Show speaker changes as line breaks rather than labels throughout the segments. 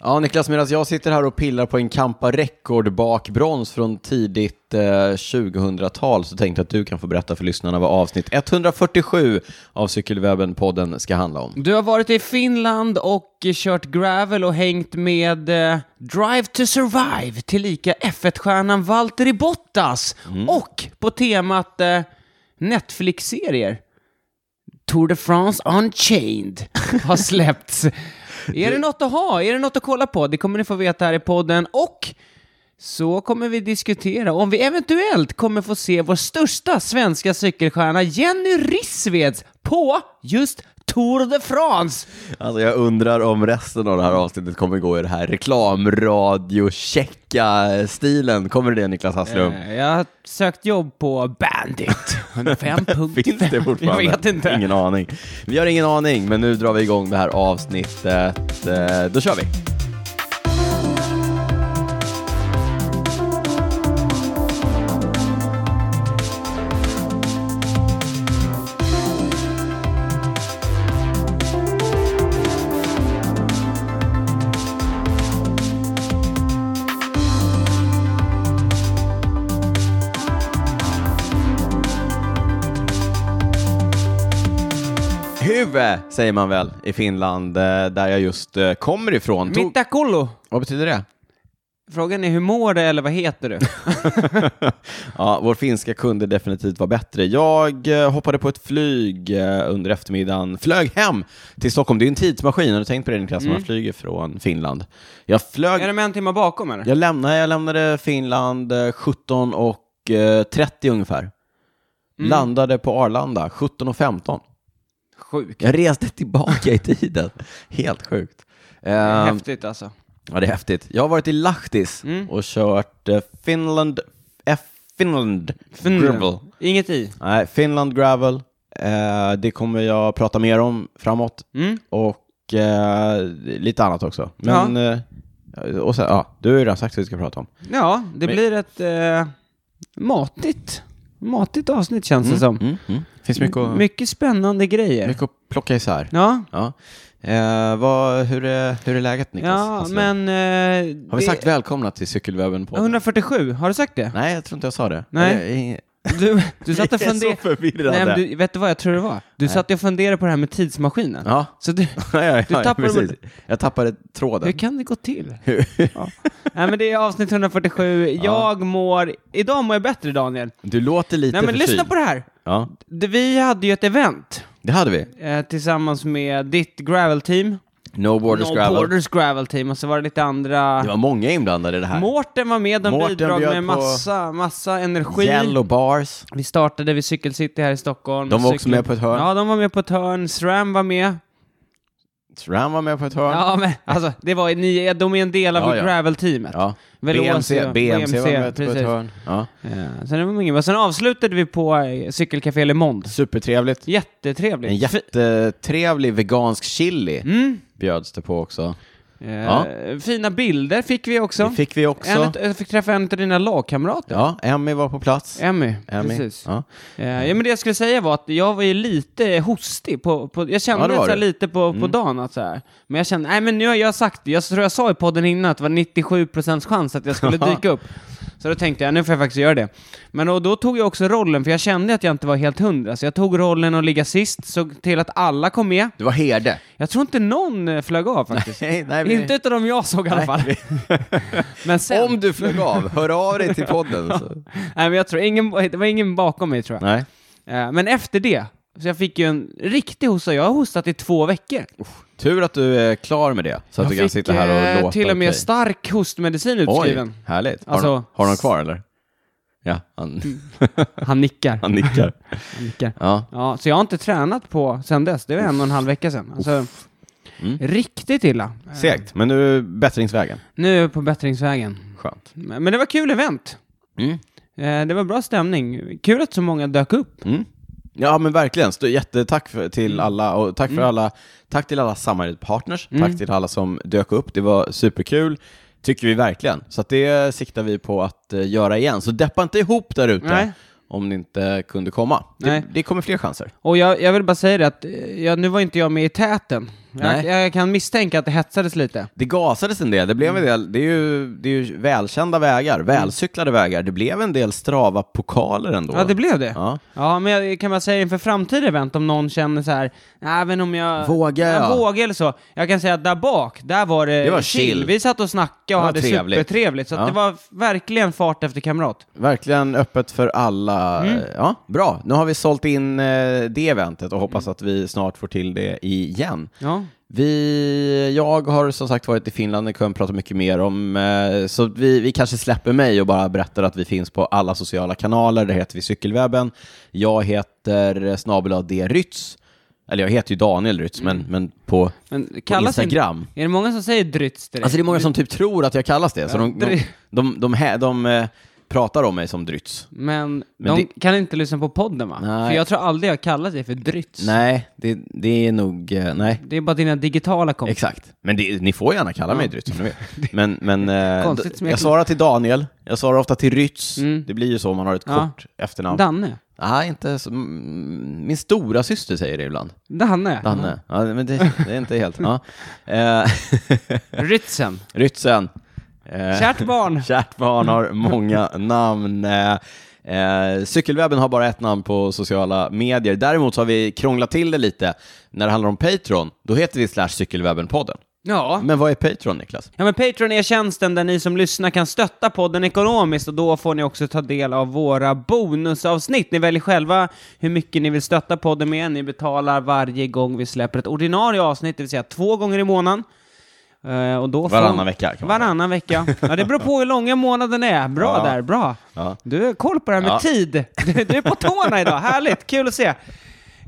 Ja, Niklas, medan jag sitter här och pillar på en Kampa rekordbakbrons från tidigt eh, 2000-tal så tänkte jag att du kan få berätta för lyssnarna vad avsnitt 147 av Cykelwebben-podden ska handla om.
Du har varit i Finland och kört gravel och hängt med eh, Drive to Survive, tillika F1-stjärnan Valtteri Bottas. Och på temat eh, Netflix-serier. Tour de France Unchained har släppts. är det något att ha? Är det något att kolla på? Det kommer ni få veta här i podden. Och så kommer vi diskutera om vi eventuellt kommer få se vår största svenska cykelstjärna Jenny Rissveds på just Tour de France.
Alltså, jag undrar om resten av det här avsnittet kommer gå i det här reklamradio-checka-stilen. Kommer det det, Niklas Hasslum?
Eh, Jag har sökt jobb på Bandit. 105.5.
Finns det fortfarande?
Jag vet inte.
Ingen aning. Vi har ingen aning, men nu drar vi igång det här avsnittet. Eh, Då kör vi. Huvud säger man väl i Finland, eh, där jag just eh, kommer ifrån. Tog-
Mittakollo.
Vad betyder det?
Frågan är hur mår du eller vad heter du?
Ja, vår finska kunde definitivt vara bättre. Jag eh, hoppade på ett flyg eh, under eftermiddagen, flög hem till Stockholm. Det är ju en tidsmaskin, har du tänkt på det Niklas, när man flyger från Finland? Jag flög...
Mm. är de en timme bakom eller?
Jag lämnade, jag lämnade Finland eh, 17 och eh, 30 ungefär.
Mm.
Landade på Arlanda 17 och 15.
Sjukt.
Jag reste tillbaka i tiden. Helt sjukt. Eh,
Häftigt alltså.
Ja, det är häftigt. Jag har varit i Lahtis
Mm.
och kört eh, Finland... F Finland... Gravel.
Inget i.
Nej, Finland Gravel. Eh, det kommer jag prata mer om framåt.
Mm.
Och eh, lite annat också. Men... Eh, och sen, ja, du har ju redan sagt vad vi ska prata om.
Ja, det blir ett eh, matigt. matigt avsnitt känns det som.
Mm, mm. Finns mycket att,
Mycket spännande grejer.
mycket att plocka isär.
Ja,
Ja. Eh, vad, hur, är, hur är läget Niklas?
ja
Hasslund?
men... Eh,
har vi
det-
sagt välkomna till cykelwebben på?
147, har du sagt det?
Nej, jag tror inte jag sa det.
Nej.
Jag-
Du, du satt och
Jag är så
funderade...
förvirrande.
Nej, men du, vet du vad jag tror det var? Du satt och funderade på det här med tidsmaskinen.
Ja.
Så du,
Ja, ja, ja,
tappade
precis. Jag tappade
hur
tråden.
kan det gå till? ja. Nej, men det är avsnitt 147. Jag mår... Idag mår jag bättre, Daniel.
Du låter lite
Nej, men
förkyld.
lyssna på det här.
Ja,
Det- Vi hade ju ett event
det hade vi.
eh, tillsammans med ditt gravel-team.
No Borders
No
Gravel.
Borders gravel-team, och så var det lite andra...
Det var många inblandade i det här.
Mårten var med, de
Mårten
bidrog
bjöd
med
på
massa, massa energi.
Yellow Bars.
Vi startade vid Cykelcity här i Stockholm.
De var också
Cykel-
med på ett hörn.
Ja, de var med på ett hörn. SRAM var med.
Tram var med på ett hörn.
Ja, men alltså, det var, ni, de är en del av
Ja, ja.
gravel-teamet.
Ja.
Velocio,
BMC, BMC var med på
precis.
ett hörn. Ja.
Ja, sen, det var många. Och sen avslutade vi på eh, Cykelcafé Le Monde.
Supertrevligt.
Jättetrevligt.
En jättetrevlig vegansk chili
Mm.
bjöds det på också.
Eh,
Ja.
Fina bilder fick vi också.
Det fick vi
En,
också.
ut- jag fick träffa en av dina lagkamrater.
Ja, Emmy var på plats.
Emmy,
Emmy.
precis.
Ja.
Eh, Ja, men det jag skulle säga var att jag var ju lite hostig på, på jag kände
Ja, det var
så här
du. Mm.
lite på, på dagen att så här. Men jag kände, nej men nu har jag sagt det, jag tror jag sa i podden innan att det var 97% chans att jag skulle dyka upp. Så då tänkte jag, nu får jag faktiskt göra det. Men och då tog jag också rollen, för jag kände att jag inte var helt hundra, så jag tog rollen att ligga sist, såg till att alla kom med.
Du var herde.
Jag tror inte någon eh, flög av faktiskt.
Nej, nej, vi-
Inte utav dem jag såg i alla fall. men sen,
Om du flög av, hör av dig till podden. Så.
nej men jag tror, ingen, det var ingen bakom mig tror jag.
Nej.
Eh, Men efter det, så jag fick ju en riktig hosta. Jag har hostat i två veckor.
Tur att du är klar med det, så att
jag
du kan
fick,
sitta här och
eh,
låta
till och med
okej.
stark hostmedicin utskriven.
Oj, härligt. Har,
Alltså- Mm.
de, har de kvar eller? Ja, han,
Han nickar.
han nickar.
Han nickar.
Ja.
Ja, så jag har inte tränat på sen dess. Det var en och en halv vecka sedan. Alltså,
Mm.
Riktigt illa. Eh,
Segt, men nu är bättringsvägen.
Nu är jag på bättringsvägen.
Skönt.
Men men det var kul event.
Mm.
Eh, Det var bra stämning. Kul att så många dök upp.
Mm. Ja men verkligen, Stort jättetack för,
Mm.
till alla och tack för alla, tack till alla samarbetspartners, tack till alla som dök upp, det var superkul, tycker vi verkligen. Så att det siktar vi på att eh, göra igen, så deppa inte ihop där ute
Nej.
om ni inte kunde komma. Det,
Nej.
det kommer fler chanser.
Och jag, jag vill bara säga det att eh, jag, nu var inte jag med i täten. Jag,
Nej.
jag kan misstänka att det hetsades lite.
Det gasades en del, det blev en
Mm.
del, det är ju, det är ju välkända vägar, välcyklade vägar. Det blev en del strava pokaler ändå.
Ja, det blev det.
Ja.
Ja, men jag kan bara säga inför framtida event om någon känner så här, nej men om jag
Vågar
jag
jag?"
vågar eller så. Jag kan säga att där bak, där var det,
Det var chill.
Vi satt och snackade och
var
hade
trevligt.
supertrevligt, så att
Ja.
det var verkligen fart efter kamrat.
Verkligen öppet för alla.
Mm.
Ja, bra, nu har vi sålt in eh, det eventet och
Mm.
hoppas att vi snart får till det igen.
Ja.
Vi, jag har som sagt varit i Finland, det kan vi prata mycket mer om. eh, Så vi, vi kanske släpper mig och bara berättar att vi finns på alla sociala kanaler. Där heter vi Cykelwebben. Jag heter snabel D. Rytz. Eller jag heter ju Daniel Rytz, men, men på,
Men
på
kallas
Instagram.
Är det många som säger drytz direkt?
Alltså det är många som typ tror att jag kallas det, så de, de,
dry-
de, de, hä- de, eh, pratar om mig som Drytz.
men,
Men
de kan inte lyssna på podden va?
Nej.
För jag tror aldrig jag kallat dig för drytz.
Nej, det, det är nog, eh, nej.
Det är bara dina digitala kompisar.
Exakt. Men det, ni får gärna kalla mig Drytz om ni vill. Men, men eh,
Konstigt
d-
smeknamn.
jag svarar till Daniel, jag svarar ofta till Rytz. Det blir ju så om man har ett
Mm. Ja.
kort efternamn.
Danne.
nej, inte så, mm, min stora syster säger det ibland.
Danne.
Danne. Ja, men det, det är inte helt... Ja. Eh,
Rytzen.
Rytzen. Eh,
Kärt barn.
Kärt barn har många namn. Eh, Eh, cykelwebben har bara ett namn på sociala medier. Däremot så har vi krånglat till det lite. När det handlar om Patreon, då heter vi slash cykelwebbenpodden.
Ja.
Men vad är Patreon, Niklas?
Ja men Patreon är tjänsten där ni som lyssnar kan stötta podden ekonomiskt och då får ni också ta del av våra bonusavsnitt. Ni väljer själva hur mycket ni vill stötta podden med. Ni betalar varje gång vi släpper ett ordinarie avsnitt, det vill säga två gånger i månaden. Eh, och då får-
Varannan vecka, kan man
Varannan vecka. Ja, det beror på hur långa månaden är. Bra
Ja.
där, bra.
Ja.
Du har koll på det här med
Ja.
tid. Du, du är på tårna idag, härligt, kul att se.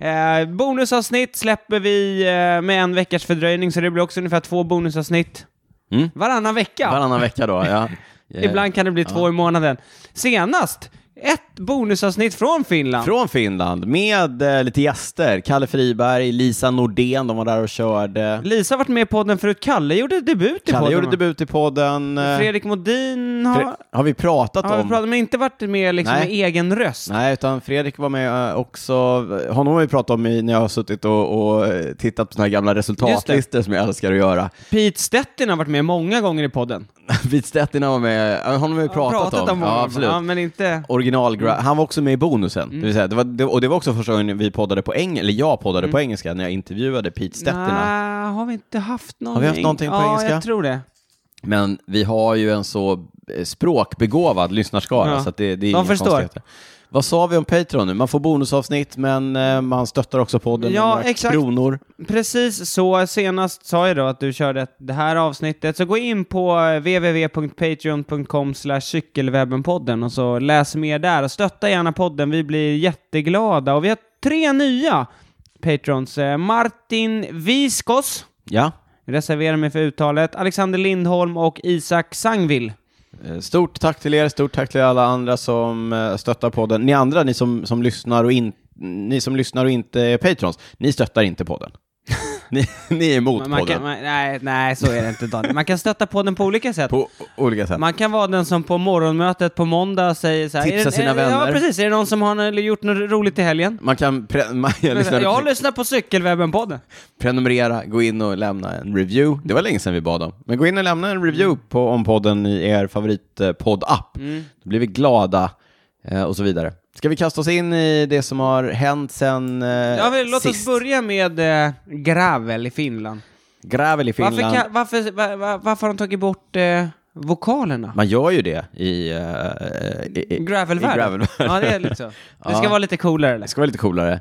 Eh, bonusavsnitt släpper vi eh, med en veckas fördröjning, så det blir också ungefär två bonusavsnitt
Mm.
varannan vecka.
Varannan vecka då, ja. Eh,
Ibland kan det bli två i månaden. Senast, ett bonusavsnitt från Finland.
Från Finland, med eh, lite gäster. Kalle Friberg, Lisa Nordén, de var där och körde.
Lisa har varit med i podden förut. Kalle gjorde debut i
Kalle
podden.
gjorde
va?
debut i podden. Eh,
Fredrik Modin har,
Fre- Har vi pratat
har
om...
pratat, men inte varit med liksom
Nej.
med egen röst.
Nej, utan Fredrik var med eh, också. Honom har vi pratat om i, när jag har suttit och, och eh, tittat på såna här gamla resultatlistor som jag älskar att göra.
Pete Stettin har varit med många gånger i podden.
Vitstättin var med, eh, honom har vi pratat, om.
många
ja,
gånger.
absolut.
Ja, men inte...
Original Gra-
Mm.
Han var också med i bonusen. Det vill säga, det var, det, och det var också första gången vi poddade på engelska, eller jag poddade på engelska när jag intervjuade Pete Stettina.
Mm. Nej, har vi inte haft någon
Har vi haft
eng-
någonting på
ja,
engelska?
jag tror det.
Men vi har ju en så eh, språkbegåvad lyssnarskara
Ja.
så att det, det är
De
inga
förstår.
konstigheter. Vad sa vi om Patreon nu? Man får bonusavsnitt men eh, man stöttar också podden
Ja,
med några
exakt.
kronor.
Precis så, senast sa jag då att du körde ett- det här avsnittet, så gå in på eh, www.patreon.com cykelwebbenpodden och så läs mer där och stötta gärna podden, vi blir jätteglada. Och vi har tre nya patrons, Eh, Martin Viskos,
Ja,
reserverar mig för uttalet, Alexander Lindholm och Isak Sangvill.
Eh, Stort tack till er, stort tack till alla andra som eh, stöttar podden. Ni andra, ni som, som, lyssnar, och in, ni som lyssnar och inte är patrons, ni stöttar inte podden. ni, ni är emot
Man
podden
kan, man, nej, nej, så är det inte Daniel. Man kan stötta podden på olika sätt.
på o- olika sätt.
Man kan vara den som på morgonmötet på måndag säger så här,
Tipsa
är det-
sina
är det- Ja,
vänner.
precis. Är det någon som har n- gjort något roligt i helgen?
Man kan pre- man, jag lyssnade,
jag
på-
lyssnar på Cykelwebben-podden.
prenumerera, gå in och lämna en review. Det var länge sedan vi bad om. Men gå in och lämna en
Mm.
review på, om podden i er favoritpodd-app. Då blir vi glada eh, och så vidare. Ska vi kasta oss in i det som har hänt sen eh,
Ja, men låt oss
sist?
börja med eh, Gravel i Finland.
Grävel i Finland.
Varför, kan, varför, va- va- varför har de tagit bort eh, vokalerna?
Man gör ju det i... eh, i, i i
Gravelvärlden.
gravelvärlden.
Ja, det är lite så. Det ska
Ja.
vara lite coolare.
Det
Eller?
ska vara lite coolare.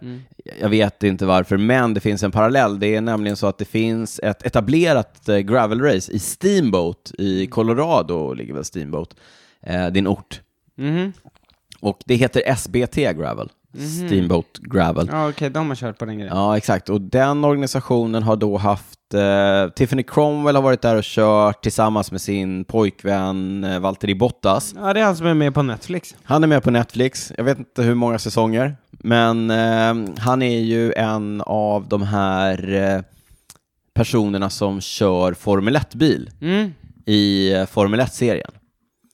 Jag vet inte varför, men det finns en parallell. Det är nämligen så att det finns ett etablerat eh, gravelrace i Steamboat i Colorado, ligger väl Steamboat, eh, din ort.
Mhm.
Och det heter SBT Gravel, Steamboat Gravel.
Ja, okej, de har kört på den grejen.
Ja, exakt. Och den organisationen har då haft... Eh, Tiffany Cromwell har varit där och kört tillsammans med sin pojkvän eh, Valtteri Bottas.
Ja, det är han som är med på Netflix.
Han är med på Netflix, jag vet inte hur många säsonger, men eh, han är ju en av de här eh, personerna som kör Formel 1-bil
Mm.
i eh, Formel 1-serien.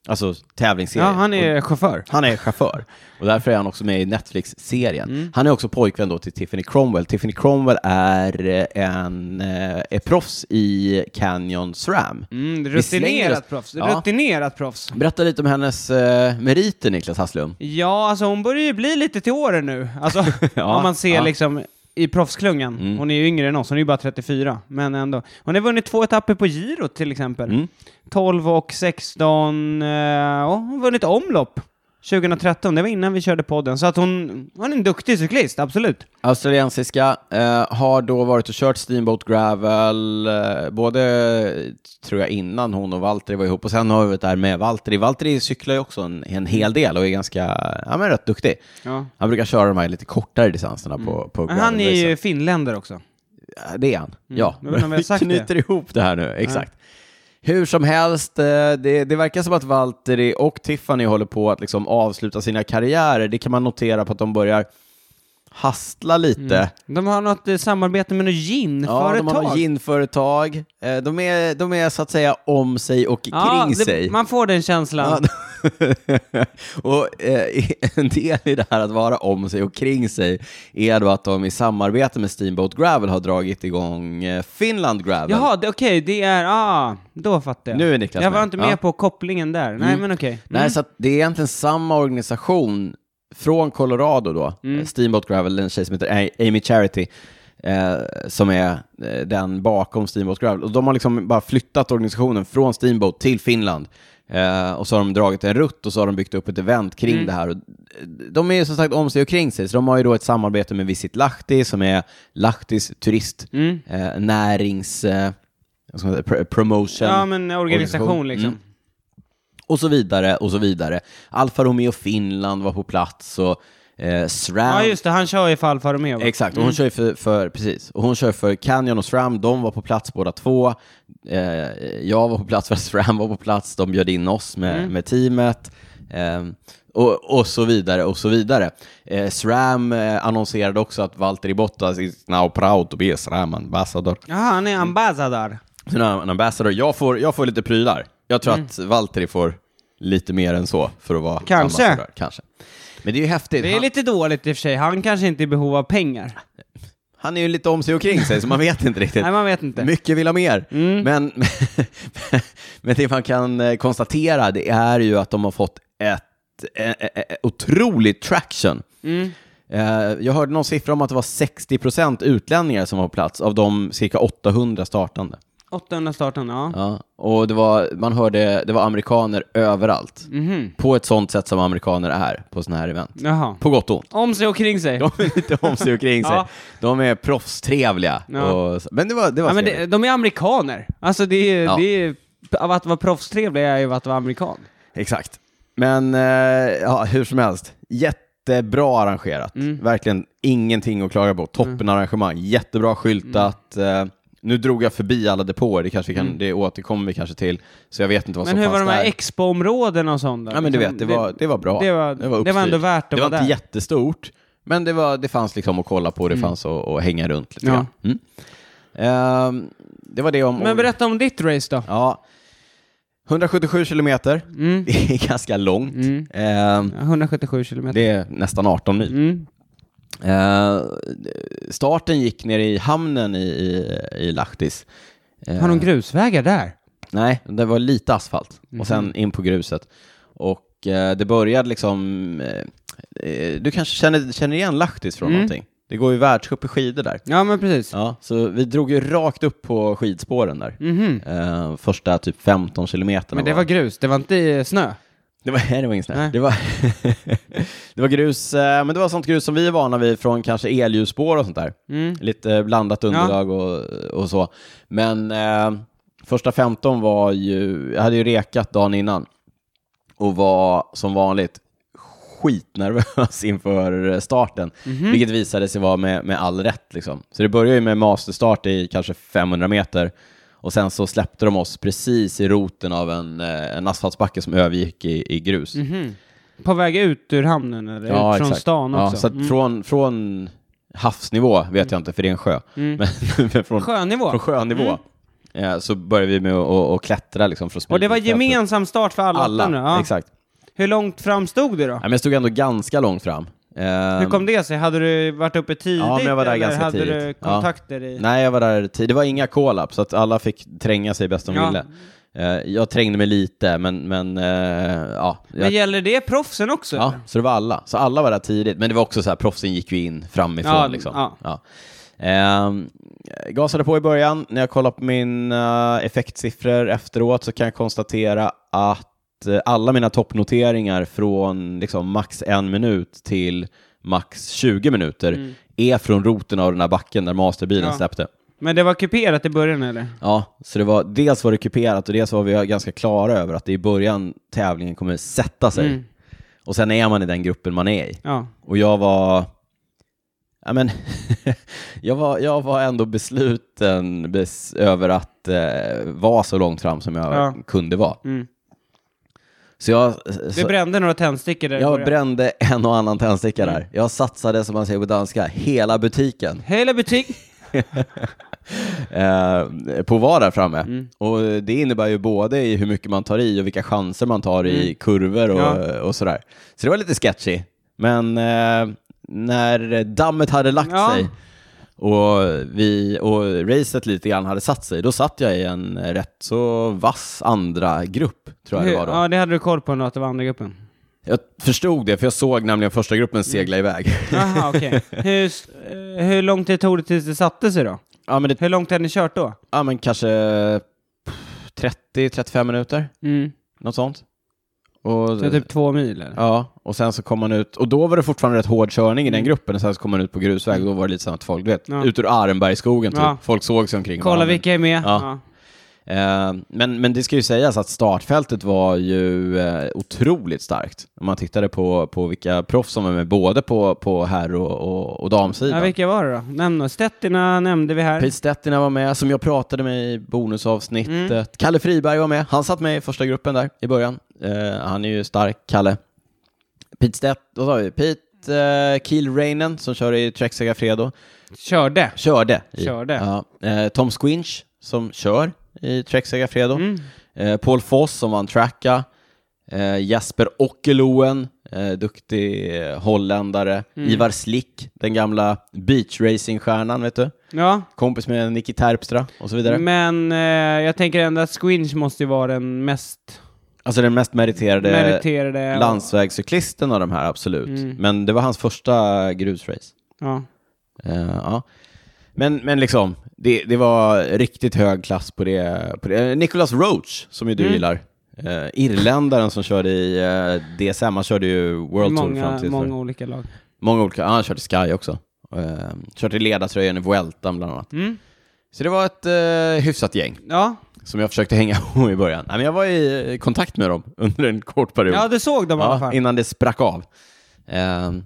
Alltså tävlingsserien.
Ja, han är chaufför.
Han är chaufför och därför är han också med i Netflix-serien.
Mm.
Han är också pojkvän då till Tiffany Cromwell. Tiffany Cromwell är eh, en eh, är proffs i Canyon SRAM.
Mm,
Vi slänger
rutinerat
oss-
proffs.
Ja.
Rutinerat proffs.
Berätta lite om hennes eh, meriter, Niklas Hasslum.
Ja, alltså hon börjar ju bli lite till åren nu. Alltså,
Ja,
om man ser
ja. Mm.
liksom i proffsklungan. Hon är ju yngre än oss, hon är ju bara 34, men ändå. Hon har vunnit två etapper på Giro till exempel.
Mm.
12 och 16, eh, och hon har vunnit omlopp 2013, det var innan vi körde podden. Så att hon, hon är en duktig cyklist, absolut.
Australiensiska, eh, har då varit och kört Steamboat Gravel, eh, både eh, tror jag innan hon och Valtteri var ihop, och sen har vi varit där med Valtteri. Valtteri cyklar ju också en, en hel del och är ganska, ja men rätt duktig.
Ja.
Han brukar köra de här lite kortare distanserna på, på
Men han är
gravelracen.
ju finländare också.
Ja, Det är han, ja.
jag vet inte om vi har sagt det.
knyter ihop det här nu, exakt. Hur som helst, eh, det, det verkar som att Valtteri och Tiffany håller på att liksom avsluta sina karriärer. Det kan man notera på att de börjar hastla lite.
De har något eh, samarbete med något
Ja,
ginföretag.
de har något ginföretag. Eh, De är, de är så att säga om sig och
Ja,
kring
det-
sig.
Man får den känslan.
Ja, och eh, en del i det här att vara om sig och kring sig är då att de i samarbete med Steamboat Gravel har dragit igång eh, Finland Gravel.
Jaha, det- okej, det är... Ah, då fattar jag.
Nu är Niklas
Jag var
med.
inte med
Ja. Mm.
på kopplingen där. Nej, men okej.
Nej, så att det är egentligen samma organisation från Colorado då, eh, Steamboat Gravel, en tjej som heter A- Amy Charity, eh, som är eh, den bakom Steamboat Gravel. Och de har liksom bara flyttat organisationen från Steamboat till Finland. Eh, och så har de dragit en rutt och så har de byggt upp ett event kring det här. Och eh, de är ju som sagt om sig och kring sig, så de har ju då ett samarbete med Visit Lahti som är Lahtis turist, eh, närings... Eh, vad ska man säga, pr- promotion.
Ja, men organisation liksom.
Mm. Och så vidare, och så vidare. Alfa Romeo Finland var på plats och eh, SRAM.
Ja, just Mm. det. Han kör ju för Alfa Romeo. va?
Exakt, och hon kör ju för, för, precis. Och hon kör för Canyon och SRAM, de var på plats båda två. Eh, jag var på plats för att SRAM var på plats, de bjöd in oss med,
Mm.
med teamet. Eh, och, och så vidare, och så vidare. Eh, SRAM eh, annonserade också att Valtteri Bottas is now proud to be a SRAM ambassador.
Ja, han är ambassadör.
Så en annan ambassador. Jag får, jag får lite prylar. Jag tror
Mm.
att Valtteri får lite mer än så för att vara
Kanske.
ambassadör. Kanske. Men det är ju häftigt.
Det är
han,
lite dåligt i och för sig. Han kanske inte är i behov av pengar.
han är ju lite om sig och kring sig, så man vet inte riktigt.
Nej, man vet inte. Mm.
Mycket vill ha mer. Men, men det man kan eh, konstatera det är ju att de har fått ett eh, eh, eh, otroligt traction.
Mm.
Eh, Jag hörde någon siffra om att det var 60% utlänningar som var på plats av de cirka 800 startande.
800 starten, ja.
Ja, och det var, man hörde, det var amerikaner överallt. På ett sånt sätt som amerikaner är på sådana här event.
Mhm. Jaha.
På gott och ont.
Om sig och kring sig.
De är lite om sig och kring sig.
Ja.
De är proffstrevliga.
Ja.
Och, så- men det var, det var
Ja, men det,
trevligt.
de är amerikaner. Alltså, det är,
Ja.
det är, av att vara proffstrevlig är ju att vara amerikan.
Exakt. Men eh, ja, hur som helst, jättebra arrangerat.
Mm.
Verkligen ingenting att klaga på. Toppen arrangemang. Jättebra skyltat.
Mm.
Eh, nu drog jag förbi alla depåer, det, kanske vi kan, det återkommer vi kanske till. Så jag vet inte vad
Men
som
hur var
fanns
de här
där.
expo-områdena och sånt? då?
Ja men du
Liksom,
vet, det var, det var bra.
det var- det var ändå
uppstyrt.
värt att
Det var
vara
inte
där. Mm.
jättestort, men det, var, det fanns liksom att kolla på, det fanns att, att hänga runt lite
Ja.
grann. Mm. Ehm, det var det om...
Men berätta om ditt race då.
Ja. 177 kilometer,
Mm.
det är ganska långt. Ehm,
Ja, 177 kilometer.
det är nästan 18 mil.
Mm.
Ehm, starten gick ner i hamnen i, i, i Lahtis. Ehm,
Har de grusvägar där?
Nej, det var lite asfalt
Mhm.
och sen in på gruset. Och eh, det började liksom, eh, eh, du kanske känner, känner igen Lahtis
Mm.
från någonting? Det går ju världscup i skidor där.
Ja, men precis.
Ja, så vi drog ju rakt upp på skidspåren där. Eh, första typ 15 kilometerna.
Mhm. Men det var grus, det var inte eh, snö.
Det var, nej, det var ingen snö.
Nej.
Det var, det var grus, eh, men det var sånt grus som vi är vana vid från kanske elljusspår och sånt där.
Mm.
Lite blandat underlag och, och så. Men eh, första 15 var ju, jag hade ju rekat dagen innan och var som vanligt skitnervös inför starten,
Mhm.
vilket visade sig vara med, med all rätt. Liksom. Så det började ju med masterstart i kanske 500 meter och sen så släppte de oss precis i roten av en, eh, en asfaltsbacke som övergick i, i grus.
Mm. Mhm. På väg ut ur hamnen eller ut från
exakt.
stan
Ja,
också. Mm.
så att från,
Mm.
från havsnivå vet jag inte, för det är en sjö. Men, men från,
Sjönivå.
från sjönivå eh, så började vi med att att- att klättra liksom från
Mm. Och det var
smygfältet.
gemensam start för alla?
Alla,
åtta nu, ja.
exakt.
Hur långt fram stod du då?
Ja, men jag stod ändå ganska långt fram. Ehm,
Hur kom det sig? Hade du varit uppe tidigt?
Ja, men jag var där
eller
ganska
hade du
tidigt. Ja.
kontakter i...
Nej, jag var där tid. Det var inga call-up, så att alla fick tränga sig bäst de
Ja.
ville. Eh, jag trängde mig lite, men, men eh, ja.
Men
Jag,
gäller det proffsen också?
ja.
eller?
Så det var alla. Så alla var där tidigt, men det var också så här, proffsen gick ju in framifrån
Ja,
liksom.
ja.
Ja. Ehm, gasade på i början. När jag kollade på mina effektsiffror efteråt så kan jag konstatera att eh, alla mina toppnoteringar från liksom max en minut till max 20 minuter är från roten av den här backen där masterbilen
Mm. Ja.
släppte.
Men det var kuperat i början eller?
Ja, så det var, dels var det kuperat och dels var vi ganska klara över att det i början tävlingen kommer sätta sig.
Mm.
Och sen är man i den gruppen man är i.
Ja.
Och jag var... Ja, men, jag, var jag var ändå besluten bes, över att eh, vara så långt fram som jag
Ja.
kunde vara.
Mm.
Så jag,
Du
så,
brände några tändstickor där i
jag
början.
brände en och annan tändsticka
Mm.
där. Jag satsade, som man säger på danska, hela butiken.
Hela butik!
eh, på att vara där framme.
Mm.
Och det innebär ju både i hur mycket man tar i och vilka chanser man tar i kurvor och,
Mm. Ja.
och sådär. Så det var lite sketchy. Men eh, när dammet hade lagt
Ja.
sig och, vi, och racet lite grann hade satt sig, då satt jag i en rätt så vass andra grupp, tror jag det var då.
ja, det hade du koll på ändå att det var andra gruppen.
Jag förstod det, för jag såg nämligen första gruppen segla
Mm.
iväg.
Jaha, okej. Hur, s- eh, hur lång tid tog det tills det satte sig då?
ja, men det,
Hur långt hade ni kört då?
ja, men kanske 30-35 minuter,
Mm.
något sånt. Och,
Så typ två mil eller?
Ja, och sen så kom man ut, och då var det fortfarande rätt hård körning i den gruppen, och sen så kom man ut på grusväg, och då var det lite så att folk, du vet,
Mm. Ja.
ut ur Arenbergsskogen typ.
Ja.
Folk såg sig omkring. och bara,
Kolla
men-
vilka är med.
Ja. Eh, men, men det ska ju sägas att startfältet var ju eh, otroligt starkt. Om man tittade på, på vilka proffs som var med, både på, på herr och, och, och
Ja,
damsidan.
vilka var det då? Nämn då. Stettina nämnde vi här.
Pete Stettina var med, som jag pratade med i bonusavsnittet.
Mm.
Kalle Friberg var med. Han satt med i första gruppen där i början. Eh, han är ju stark, Kalle. Pete Stett, vad sa vi? Pete uh, Kielreinen, som kör i Trek Segafredo,
Körde.
körde. I,
Körde.
Ja. Eh, Tom Squinch, som kör i Trek Segafredo.
Mm.
Eh, Paul Foss, som vann Tracka. Eh, Jasper Ockeloen, eh, duktig eh, holländare.
Mm.
Ivar Slick, den gamla beachracingstjärnan, vet du
Ja.
kompis med Nicky Terpstra och så vidare.
Men eh, jag tänker ändå att Squinch måste ju vara den mest
Alltså den mest meriterade
meriterade. och-
landsvägscyklisten av de här, absolut.
Mm.
Men det var hans första grusrace.
Ja.
Eh, ja. men, men liksom, det, det var riktigt hög klass på det. På det. Eh, Nicholas Roach, som
Mm.
ju du gillar. Eh, irländaren som körde i eh, DSM, han körde ju World Tour fram
Många,
till
många olika lag.
många olika, ja, han körde Sky också. Eh, körde i ledartröjan i Vueltan bland annat.
Mm.
Så det var ett eh, hyfsat gäng.
Ja.
som jag försökte hänga på i början. Nej, men jag var i eh, kontakt med dem under en kort period.
ja, du såg dem i alla
Ja,
fall.
innan det sprack av. Ehm,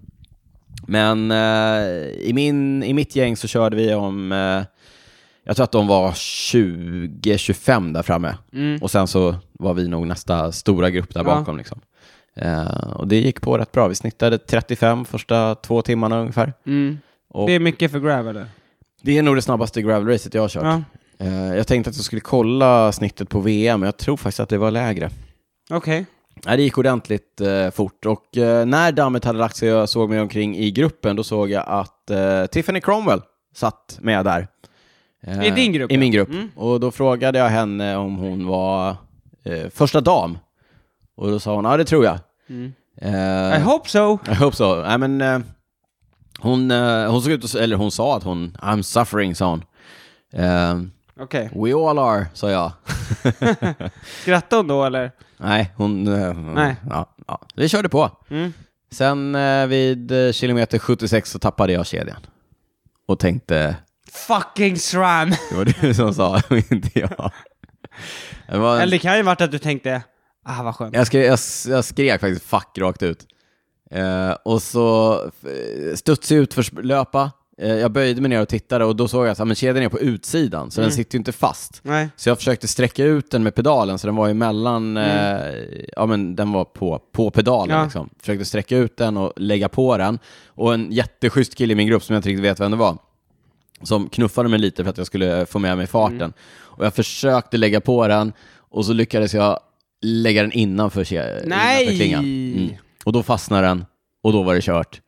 men eh, i, min, i mitt gäng så körde vi om, eh, jag tror att de var 20-25 där framme. Och sen så var vi nog nästa stora grupp där
Mm. Ja.
bakom. Liksom. Eh, och det gick på rätt bra. Vi snittade 35 första två timmarna ungefär.
Mm.
Och-
Det är mycket för grab eller?
Det är nog det snabbaste gravelracet jag har kört.
Ja.
Eh, jag tänkte att jag skulle kolla snittet på VM, men jag tror faktiskt att det var lägre.
Okej.
Nej, det gick ordentligt eh, fort och eh, när dammet hade lagt sig och jag såg mig omkring i gruppen, då såg jag att eh, Tiffany Cromwell satt med där. Eh,
I din grupp,
I
ja.
min grupp.
Mm.
Och då frågade jag henne om hon var eh, första dam. Och då sa hon, ja det tror jag.
Mm.
Eh,
I hope so.
I hope so. Nej, men, eh, hon, eh, hon såg ut att, eller hon sa att hon, I'm suffering, sa hon. Eh,
Okej.
We all are, sa jag.
Skrattade hon då eller?
Nej, hon... eh,
Nej.
Ja, ja. Vi körde på.
Mm.
Sen eh, vid eh, kilometer 76 så tappade jag kedjan. Och tänkte,
Fucking SRAM!
det var du som sa och inte jag. Det var
Eller det kan ju varit att du tänkte, ah vad skönt.
jag, skrek, jag, jag skrek faktiskt 'fuck' rakt ut. Eh, och så eh, studsade jag ut för löpa. Eh, jag böjde mig ner och tittade och då såg jag att ah, men kedjan är på utsidan,
Mm.
så den sitter ju inte fast.
Nej.
Så jag försökte sträcka ut den med pedalen, så den var ju mellan, eh, ja men den var på, på pedalen
Mm. Ja.
liksom. Försökte sträcka ut den och lägga på den. Och en jätteschysst kille i min grupp som jag inte riktigt vet vem det var, som knuffade mig lite för att jag skulle få med mig farten.
Mm.
Och jag försökte lägga på den och så lyckades jag lägga den innanför, ke- innanför
Nej!
klingan. Mm. Och då fastnade den och då var det kört.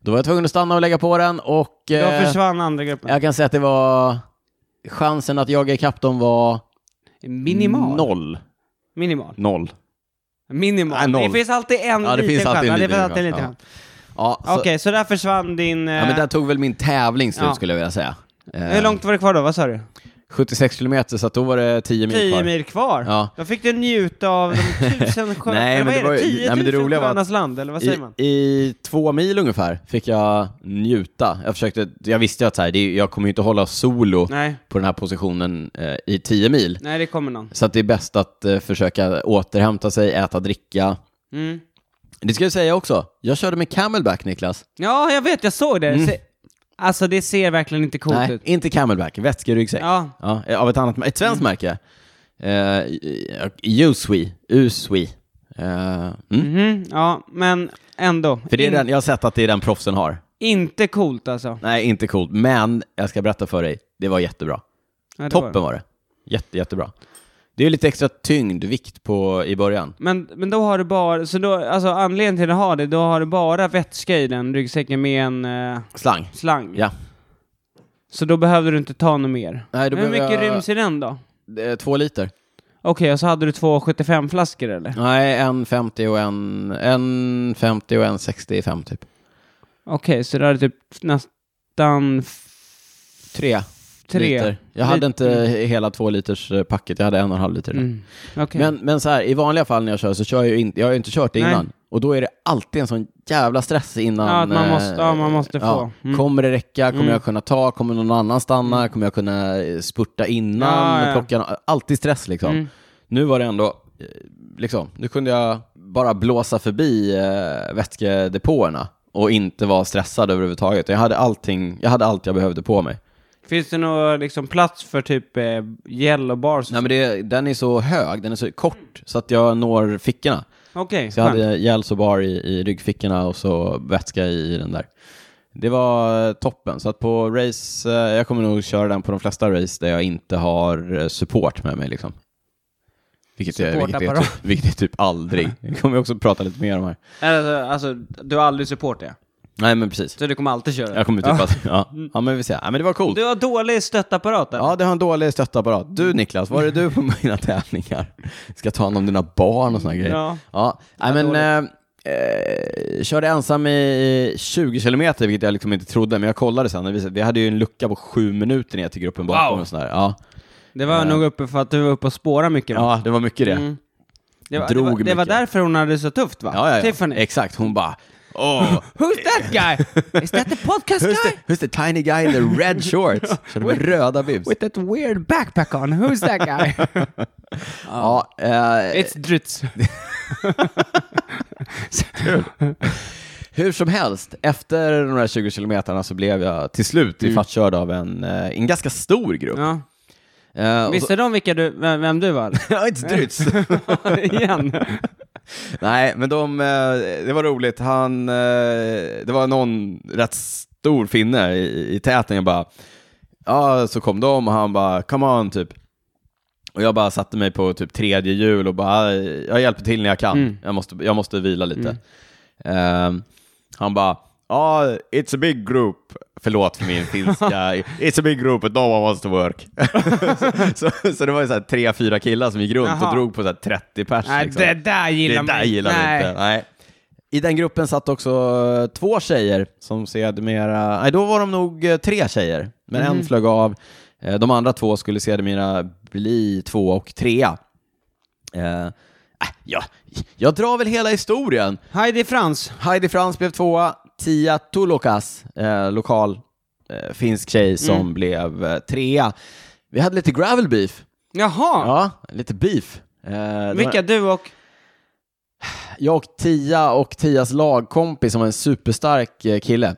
Då var jag tvungen att stanna och lägga på den och
Då
eh,
försvann andra gruppen.
jag kan säga att det var chansen att jaga ikapp dem var
Minimal.
noll.
Minimal.
Noll.
Minimal.
Nej, noll.
det finns alltid en
Ja, det
liten
finns
chans.
alltid en
Ja, det
liten
finns alltid en liten
chans,
chans.
Ja, så,
Okej, så där försvann din...
ja, men
eh,
där tog väl min tävling slut
Ja.
skulle jag vilja säga. Eh,
Hur långt var det kvar då? Vad sa du?
76 kilometer, så att då var det 10 mil
10
kvar.
mil kvar?
Ja.
Då fick du njuta av de tusen sköna...
Nej,
eller
men det
vad är
var ju-
10
nej, men det
000
roliga var att-
skönas land, eller vad säger man?
I, I två mil ungefär fick jag njuta. Jag, försökte, jag visste ju att så här, det, jag kommer ju inte hålla solo
Nej,
på den här positionen eh, i 10 mil.
nej, det kommer någon.
Så att det är bäst att eh, försöka återhämta sig, äta, dricka.
Mm.
Det ska jag säga också, jag körde med camelback Niklas.
Ja, jag vet, jag såg det. Se... Alltså, det ser verkligen inte coolt
Mm. Nej,
ut.
inte camelback, vätskeryggsäck.
Ja.
Ja, eh, av ett annat, ett
Mm.
svenskt märke. Uh, Usui, Usui. Eh, mm.
Mhm, ja, men ändå.
För det är
In...
den, jag har sett att det är den proffsen har.
Inte coolt alltså.
Nej, inte coolt, men jag ska berätta för dig, det var jättebra.
Ja, det var
Toppen
det.
var det. Jätte, jättebra. Det är lite extra tyngd, vikt på, i början.
Men, men då har du bara, så då, alltså anledningen till att ha det, då har du bara vätska i den ryggsäcken med en eh,
Slang.
slang.
Ja.
Så då behövde du inte ta något mer.
Nej, då
Hur
behöver
mycket
jag-
ryms i den då?
Eh, Två liter.
Okej, och så hade du två 75-flaskor eller?
Nej, en 50 och en... En 50 och en 65 typ.
Okej, så det är typ nästan f-
Tre.
tre.
Liter. Jag hade inte hela två liters eh, packet, jag hade en och en halv liter.
Mm. Okej.
Men, men så här, i vanliga fall när jag kör så kör jag ju inte, jag har ju inte kört det
Nej.
innan. Och då är det alltid en sån jävla stress innan.
Ja, att man
eh,
måste- ja, man måste få. Mm.
Kommer det räcka? Kommer jag kunna ta? Kommer någon annan stanna? Kommer jag kunna eh, spurta innan?
Ja, Mm. ja.
Plocka, alltid stress liksom. Nu var det ändå, eh, liksom, nu kunde jag bara blåsa förbi eh, vätskedepåerna och inte vara stressad överhuvudtaget. Jag hade allting, jag hade allt jag behövde på mig.
Finns det någon liksom, plats för typ eh, gel och bars?
Nej men det, den är så hög, den är så kort så att jag når fickorna.
Okej,
Så jag
skönt.
hade gels och bar i, i ryggfickorna och så vätska i, den där. Det var eh, toppen, så att på race, eh, jag kommer nog köra den på de flesta race där jag inte har eh, support med mig liksom. Vilket är, vilket är,
Supportapparat.
typ, vilket är typ aldrig. Vi kommer också prata lite mer om här.
Alltså, alltså, du har aldrig support det?
Nej men precis.
Så du kommer alltid köra?
Jag kommer typ att, ja.
Mm.
ja men vi ser. Ja, men det var coolt.
Du har dålig stöttapparat där.
Ja, det har en dålig stöttapparat. Du Niklas, var är du på mina tävlingar? Ska ta hand om dina barn och såna grejer.
Ja.
ja. Nej, men eh, eh, körde ensam i 20 kilometer, vilket jag liksom inte trodde, men jag kollade sen. Det visade- Vi hade ju en lucka på sju minuter ner till gruppen bakom
Wow.
och sådär. Ja.
Det var nog uppe för att du var uppe och spåra mycket. va?
ja, det var mycket det.
Mm. Det, var,
Drog
det, var, det var
mycket.
därför hon hade det så tufft va?
Ja, ja, ja.
Tiffany.
Exakt, hon bara Åh,
Who's that guy? Is that the podcast
who's,
guy?
the, who's the tiny guy in the red shorts? Körde med röda bibs.
With that weird backpack on, who's that guy?
Ja, eh,
It's Dritz.
Hur som helst, efter de här 20 kilometerna så blev jag till slut
Mm.
ifattkörd av en, eh, en ganska stor grupp.
Ja.
Eh, och
Visste de vilka du, vem, vem du var?
så, Ja, inte dryts.
Igen.
Nej, men de, eh, det var roligt. Han, eh, det var någon rätt stor finne i, i täten. Jag bara, ja, så kom de och han bara, come on, typ. Och jag bara satte mig på typ tredje hjul och bara, jag hjälper till när jag kan.
Mm.
Jag, måste, jag måste vila lite. Ehm, han bara, ja, it's a big group. Förlåt för min finska. It's a big group but no one wants to work. så, så, så det var ju så här tre, fyra killar som gick runt
Jaha.
och drog på så här 30 pers.
Nej,
liksom.
det där gillar
Det där
man
gillar vi inte. Nej. I den gruppen satt också eh, två tjejer som sedermera, nej då var de nog eh, tre tjejer, men en flög av. Eh, De andra två skulle sedermera bli två och trea. Eh, äh, ja, jag drar väl hela historien.
Heidi Frans.
Heidi Frans blev tvåa, Tia Tulokas, eh, lokal eh, finsk tjej som blev eh, trea. Vi hade lite gravel beef,
Jaha,
ja, lite beef. Eh, det var-
vilka du och...
jag och Tia och Tias lagkompis som var en superstark eh, kille.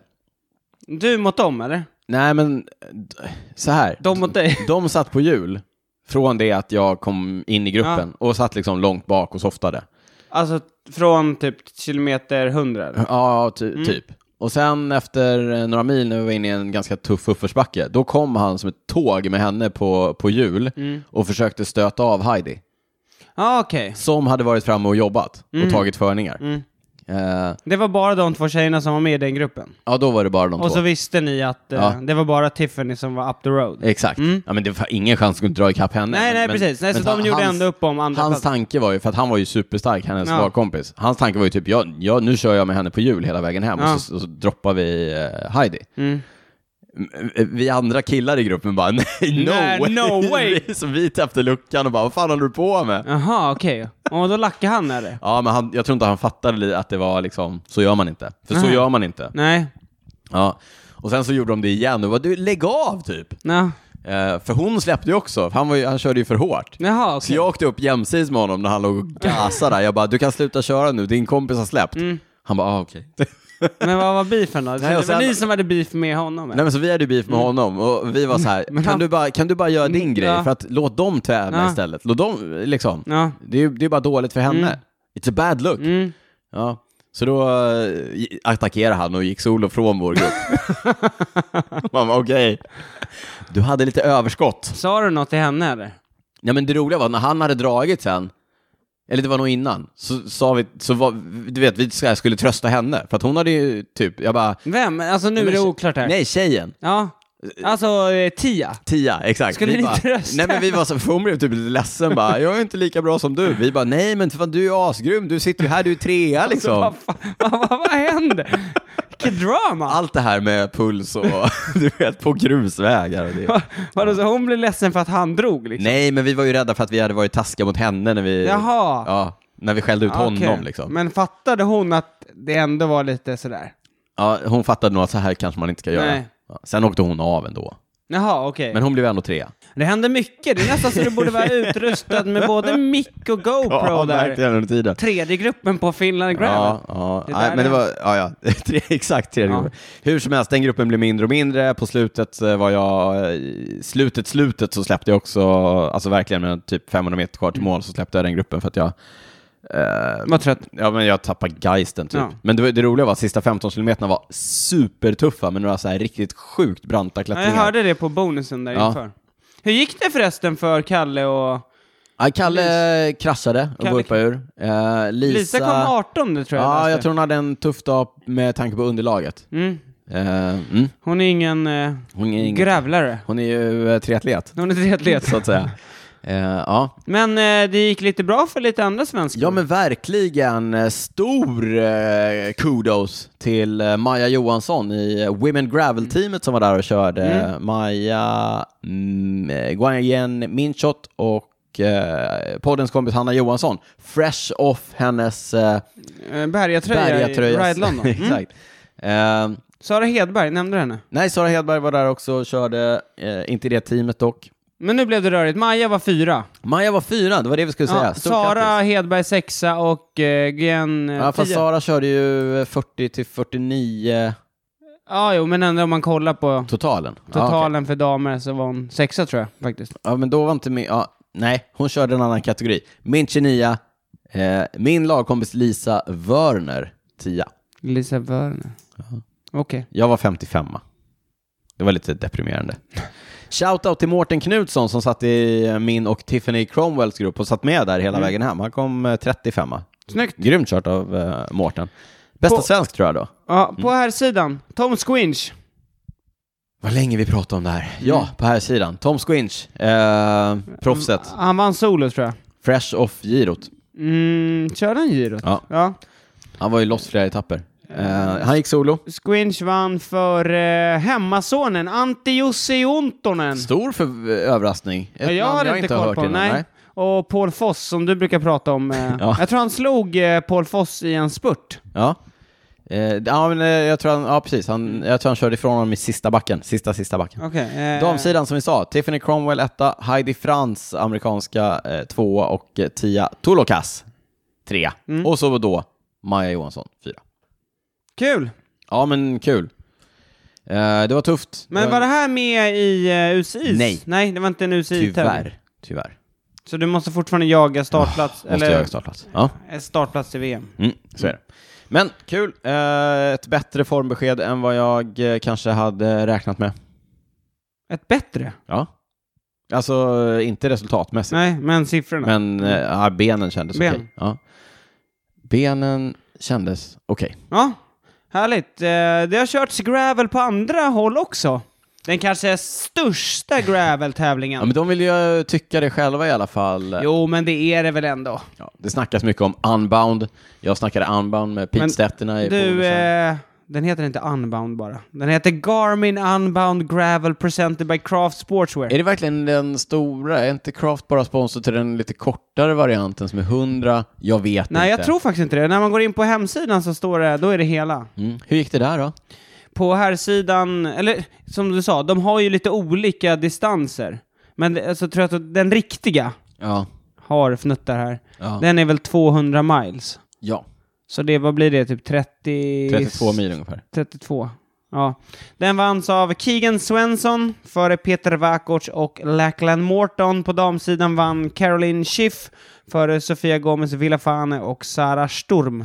Du mot dem eller?
Nej men, eh, d- så här.
De mot dig?
De satt på hjul från det att jag kom in i gruppen och satt liksom långt bak och softade.
Alltså från typ kilometer 100? eller?
Ja, ty- typ. Och sen efter eh, några mil när vi var inne i en ganska tuff uppförsbacke, då kom han som ett tåg med henne på, på hjul
Mm.
och försökte stöta av Heidi,
Ah, Okej,
som hade varit framme och jobbat
Mm.
och tagit förningar. Eh,
det var bara de två tjejerna som var med i den gruppen.
ja, då var det bara de
Och
två.
så visste ni att eh,
Ja.
det var bara Tiffany som var up the road.
Exakt. Ja, men det var ingen chans att skulle dra ikapp henne.
Mm. Nej,
Men-
nej,
men,
precis. Nej, så de
han-
gjorde ändå upp om andra
Hans
plats.
tanke var ju, för att han var ju superstark, hennes
Ja.
lagkompis. Hans tanke var ju typ, ja, ja, nu kör jag med henne på jul hela vägen hem
Ja.
och, så, och så droppar vi eh, Heidi.
Mm.
M- eh, Vi andra killar i gruppen bara, nej, no,
Nej, no way.
Vi- så vi täppte luckan och bara, vad fan håller du på med? Ja,
Jaha, okej. Och då lackade han eller?
men han, jag tror inte han fattade li- att det var liksom, så gör man inte. För så
Nej.
gör man inte.
Nej.
Ja. Och sen så gjorde de det igen och bara, du, lägg av typ.
Nå.
Eh, för hon släppte ju också, för han, var ju, han körde ju för hårt.
Jaha,
Så
okej.
jag åkte upp jämsides med honom när han låg och gasade där. Jag bara, du kan sluta köra nu, din kompis har släppt.
Mm.
Han bara, ah, okej.
Men vad var beefen då? Så
Nej, och
det var
sen-
ni som hade beef med honom?
Nej
eller?
men så vi hade ju beef med honom och vi var så här, kan,
Mm. han-
du bara, kan du bara göra din grej?
Ja.
För att låt dem tävla
Ja.
istället. Låt dem, liksom.
Ja.
Det är ju det är bara dåligt för henne. It's a bad look.
Mm.
Ja. Så då eh, attackerade han och gick solo från vår grupp. Man bara, okej. Du hade lite överskott.
Sa du något till henne eller?
Ja, men det roliga var att när han hade dragit sen, eller det var nog innan, så sa vi, så var, du vet, vi så här skulle trösta henne, för att hon hade ju typ, jag bara...
Vem? Alltså nu
men
är det
tje-
oklart här.
Nej, tjejen.
Ja. Alltså, eh, Tia.
Tia, exakt.
Skulle ni
bara,
trösta
Nej men vi var så, för hon blev typ lite ledsen bara, jag är inte lika bra som du. Vi bara, nej men fan du är asgrym, du sitter ju här, du är trea liksom.
Alltså, Vad fan, vad, vad, vad händer? Vilket drama!
Allt det här med puls och du vet, på grusvägar och det.
Vadå, så hon blev ledsen för att han drog liksom?
Nej men vi var ju rädda för att vi hade varit taskiga mot henne när vi,
Jaha.
ja, när vi skällde ut
Ja, okej.
honom liksom.
Men fattade hon att det ändå var lite sådär?
Ja, hon fattade nog att så här kanske man inte ska göra.
Nej.
Ja, Sen åkte hon av ändå.
Jaha, okej.
Men hon blev ändå trea.
Det hände mycket. Det är nästan så du borde vara utrustad med både mick och GoPro där.
under tiden.
Tredje gruppen på Finland Gravel.
Ja, ja.
Det
Nej,
där
men det
är-
var, ja, ja. Tre, exakt tredje
Ja.
gruppen. Hur som helst, den gruppen blev mindre och mindre. På slutet eh, var jag, i slutet, slutet så släppte jag också, alltså verkligen med typ 500 meter kvar till mål så släppte jag den gruppen för att jag, eh,
Var trött.
ja men jag tappade geisten typ.
Ja.
Men det, det roliga var att sista 15 kilometerna var supertuffa med några så här riktigt sjukt branta
Ja,
klättringar.
jag hörde det på bonusen där
Ja.
inför. Hur gick det förresten för Kalle och...
Ja, Kalle kraschade och
Kalle-
burpade ur. Eh, Lisa,
Lisa kom 18 tror jag
Ja,
läste.
jag tror hon hade en tuff dag med tanke på underlaget.
mm.
Eh, mm.
Hon är ingen, eh,
hon, är ingen,
grävlare.
hon är ju eh, triatlet,
Hon är triatlet.
så att säga. Eh, ja.
Men eh, det gick lite bra för lite andra svenskar.
ja, men verkligen eh, stor eh, kudos till eh, Maja Johansson i eh, Women Gravel-teamet som var där och körde.
Mm.
Maja mm, eh, Guanyen Minchot och eh, poddens kompis Hanna Johansson. Fresh off hennes eh,
Eh, Bergatröja,
Bergatröja.
i Ride London. Mm.
Exakt. Ehm,
Sara Hedberg, nämnde du henne?
nej, Sara Hedberg var där också och körde, eh, inte i det teamet dock.
Men nu blev det rörigt. Maja var fyra.
Maja var fyra, det var det vi skulle säga.
Ja,
Stort
Sara
grattis.
Hedberg sexa och eh, Gren eh,
Ja, fast
tio.
Sara körde ju 40 till 49
Ja, jo, men ändå om man kollar på
totalen. Ja, okej.
totalen för damer så var hon sexa tror jag faktiskt.
ja, men då var inte min, ja, nej, hon körde en annan kategori. Min 29, eh, min lagkompis Lisa Wörner 10.
Lisa Wörner. Okej.
Jag var 55 Det var lite deprimerande. Shoutout till Mårten Knutsson som satt i eh, min och Tiffany Cromwells grupp och satt med där hela vägen hem. Han kom eh, 35
Snyggt.
Grymt kört av eh, Mårten. Bästa
På-
svensk tror jag då.
Ja,
Mm.
på här sidan Tom Squinch.
Vad länge vi pratar om det här. Ja, på här sidan. Tom Squinch, eh, proffset.
Han vann solo tror jag.
Fresh off girot.
Mm, körde han girot?
Ja.
ja.
Han var ju loss flera etapper. Eh, han gick solo.
Squinch vann för eh, hemmasonen Antti Jussi Juntonen.
Stor för eh, överraskning. Ett
Ja, jag
namn
har inte koll på honom, nej. Och Paul Foss som du brukar prata om. Eh,
Ja.
Jag tror han slog eh, Paul Foss i en spurt.
Ja. Eh, ja, men eh, jag tror han, ja precis. Han, jag tror han körde ifrån honom i sista backen. Sista, sista backen.
Okej. eh,
Damsidan som vi sa, Tiffany Cromwell etta, Heidi Frans amerikanska eh, tvåa och eh, Tia Tulokas trea.
Mm.
Och så då Maja Johansson fyra.
Kul!
Ja men kul. Eh, det var tufft.
Men
var
var det här med i eh, UCI?
Nej.
Nej, det var inte en uci
Tyvärr. Tyvärr.
Så du måste fortfarande jaga startplats,
Måste
eller
jag startplats. Ja,
eh, startplats i VM.
mm, så är det. Men kul. Eh, ett bättre formbesked än vad jag eh, kanske hade räknat med.
Ett bättre?
Ja. Alltså, eh, inte resultatmässigt,
Nej, men siffrorna.
men eh, ja, benen kändes
Ben.
okej. Ja. Benen kändes okej.
Ja, härligt. Eh, Det har körts gravel på andra håll också. Den kanske största gravel-tävlingen.
Ja, men de vill ju eh, tycka det själva i alla fall.
Jo, men det är det väl ändå.
Ja, det snackas mycket om unbound. Jag snackade unbound med Pete
Men
Stetterna i
Du,
Bohuslän.
eh, den heter inte Unbound bara. Den heter Garmin Unbound Gravel Presented by Craft Sportswear.
Är det verkligen den stora? Är inte Craft bara sponsor till den lite kortare varianten som är 100? Jag vet
Nej,
inte.
jag tror faktiskt inte det. När man går in på hemsidan så står det, då är det hela.
Mm. Hur gick det där då?
På här sidan, eller som du sa, de har ju lite olika distanser. Men det- så tror jag att den riktiga
Ja.
har fnuttar här.
Ja.
Den är väl 200 miles.
ja.
Så det, vad blir det? Typ 30...
32 mil ungefär.
32. Ja. Den vanns av Keegan Svensson före Peter Vakoc och Lackland Morton. På damsidan vann Caroline Schiff före Sofia Gomez Villafane och Sara Sturm.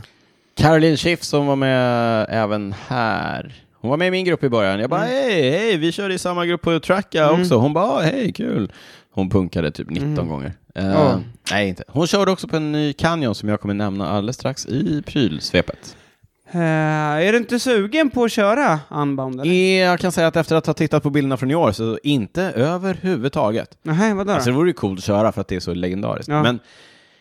Caroline Schiff som var med även här. Hon var med i min grupp i början. Jag bara
Mm.
hej, hej, vi körde i samma grupp på Tracka också. Hon bara "Ah, hej, kul. Hon punkade typ 19 gånger. Eh,
Mm. Ja.
Nej, inte. Hon körde också på en ny Canyon som jag kommer nämna alldeles strax i prylsvepet.
Eh, är du inte sugen på att köra unbound? Eller?
Eh, Jag kan säga att efter att ha tittat på bilderna från i år så inte överhuvudtaget.
Nej, vadå då?
Alltså det vore ju coolt att köra för att det är så legendariskt.
Ja.
Men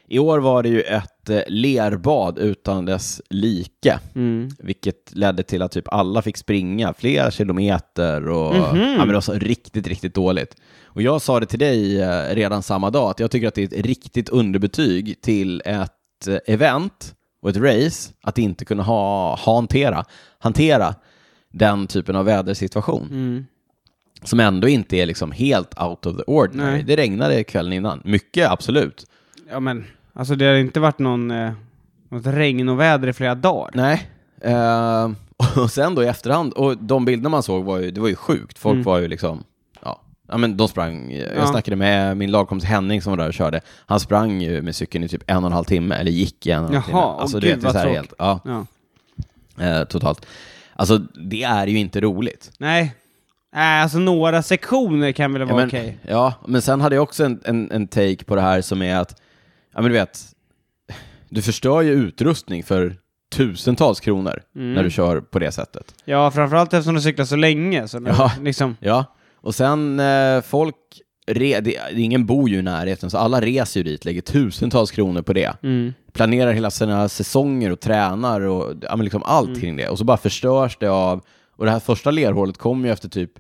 i år var det ju ett eh, lerbad utan dess like,
Mm.
vilket ledde till att typ alla fick springa flera kilometer och
Mhm.
ja, men det var så riktigt, riktigt dåligt. Och jag sa det till dig eh, redan samma dag att jag tycker att det är ett riktigt underbetyg till ett eh, event och ett race att inte kunna ha, ha hantera, hantera den typen av vädersituation
Mm.
som ändå inte är liksom helt out of the ordinary.
Nej.
Det regnade kvällen innan. Mycket, absolut.
Ja, men alltså det har inte varit någon, eh, något regn och väder i flera dagar.
Nej. Eh, och sen då i efterhand, och de bilder man såg var ju, det var ju sjukt. Folk var ju liksom, ja, ja men de sprang. Jag
Mm. Ja.
snackade med min lagkompis Henning som var där och körde. Han sprang ju med cykeln i typ en och en halv timme, eller gick i en och en halv timme. Alltså,
Jaha, åh
du
gud,
det är så
vad
här
tråkigt.
ja,
Ja.
eh, totalt. Alltså, det är ju inte roligt.
Nej. Nej, alltså några sektioner kan väl
Ja
vara
men,
okej.
ja, men sen hade jag också en, en, en take på det här som är att, ja men du vet, du förstör ju utrustning för tusentals kronor när
Mm.
du kör på det sättet.
Ja, framförallt eftersom du cyklar så länge. Så
Ja.
liksom,
Ja, och sen eh, folk, re, det, ingen bor ju i närheten, så alla reser ju dit, lägger tusentals kronor på det.
Mm.
Planerar hela sina säsonger och tränar och ja, men liksom allt kring det. Och så bara förstörs det av, och det här första lerhålet kom ju efter typ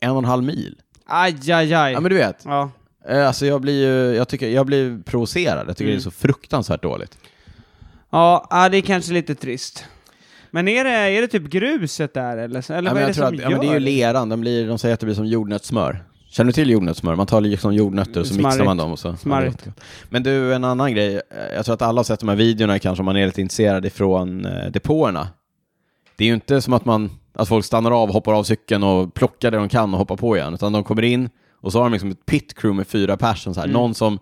en och en halv mil.
Aj, aj, aj.
Ja men du vet,
Ja.
Eh, Alltså jag blir ju, jag tycker, jag blir provocerad. Jag tycker det är så fruktansvärt dåligt.
Ja, ja, det är kanske lite trist. Men är det, är det typ gruset där eller? så- Eller
Ja,
vad
men
är
jag
det
tror
som
att,
gör
ja, men det är ju leran, de, blir, de säger att det blir som jordnötssmör. Känner du till jordnötssmör? Man tar liksom jordnötter och så mixar
Smarrigt.
man dem och så...
Smarrigt.
Ja, det låter gott. Men du, en annan grej. Eh, Jag tror att alla har sett de här videorna kanske om man är lite intresserad ifrån eh, depåerna. Det är ju inte som att man, att folk stannar av, hoppar av cykeln och plockar det de kan och hoppar på igen. Utan de kommer in och så har de liksom ett pit crew med fyra personer. Så här. Någon som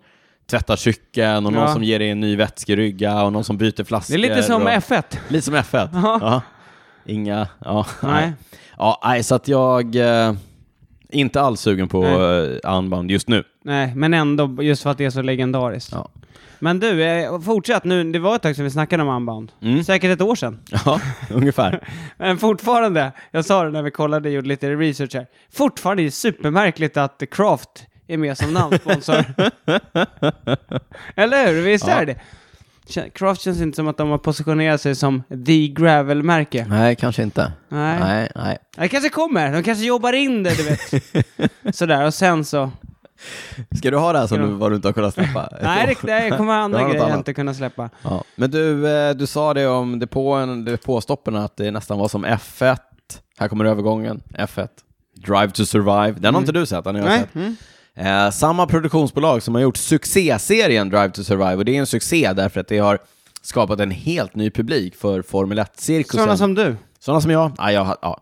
tvättar cykeln och någon
Mm. Ja.
som ger dig en ny vätskerygga och någon som byter
det
flaskor.
är lite som
och...
F1.
Lite som F1.
Ja.
Ja. Inga, ja.
Nej.
Ja, nej, så att jag eh, inte alls sugen på
Nej.
eh, unbound just nu.
Nej, men ändå just för att det är så legendariskt.
Ja.
Men du, eh, fortsätt nu. Det var ett tag sedan vi snackade om Unbound.
Mm.
Säkert ett år sedan.
Ja, ungefär.
Men fortfarande, jag sa det när vi kollade och gjorde lite research här, fortfarande är det supermärkligt att Craft är med som namnsponsor. Eller hur? Visst är det Kä- Craft känns inte som att de har positionerat sig som the gravel-märke.
Nej, kanske inte.
Nej.
Nej, nej.
Det kanske kommer, de kanske jobbar in det, du vet. Sådär, och sen så...
Ska du ha det här som
Ja.
du, vad du inte har kunnat släppa?
Nej, det, det kommer
Det
andra
var något
grejer jag
annat.
inte kunna släppa.
Ja. Men du, eh, du sa det om depån, depåstoppen, att det nästan var som F1. Här kommer övergången. F1. Drive to survive. Den har inte du sett, den har jag
Mm. Nej.
sett. Eh, samma produktionsbolag som har gjort succéserien Drive to survive, och det är en succé därför att det har skapat en helt ny publik för Formel 1-cirkusen.
Sådana som du.
Sådana som jag? Ja, jag har- ja.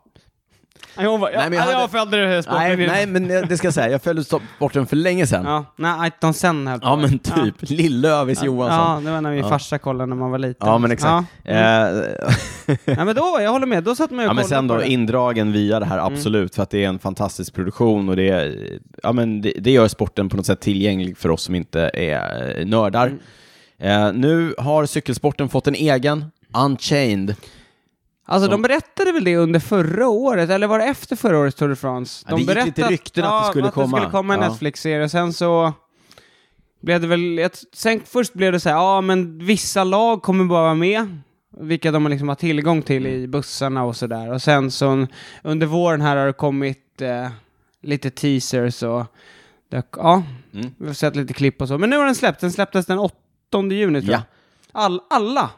Jag, bara,
Nej, men jag
jag,
hade-
jag följde det här sporten.
Nej, nej, men det det ska jag säga. Jag följde stopp- sporten för länge sedan. Ja,
Ja, nej, Aiton sen höll på.
men typ. Lill-Övis
Ja,
Johansson.
det var när min
Ja.
farsa kollade när man var liten.
Ja, men exakt.
Ja. Mm.
Eh,
Nej, men då, jag håller med. Då satt man ju och
Ja, men
kollade
sen
på
då
det. Mm.
indragen via det här, absolut, för att det är en fantastisk produktion och det, är- ja, men det, det gör sporten på något sätt tillgänglig för oss som inte är eh, nördar.
Mm.
Eh, nu har cykelsporten fått en egen, Unchained.
Alltså de berättade väl det under förra året, eller var det efter förra årets Tour de France?
Ja, det
De
gick lite
berättade-
rykten att det skulle
att det
komma.
skulle komma en
Ja.
Netflix-serie, sen så blev det väl, jag, sen först blev det så här, ja men vissa lag kommer bara vara med, vilka de liksom har tillgång till i
Mm.
bussarna och sådär. Och sen så under våren här har det kommit eh, lite teasers och det, ja,
Mm.
vi har sett lite klipp och så. Men nu har den släppts, den släpptes den 8 juni tror jag.
Ja.
All, alla!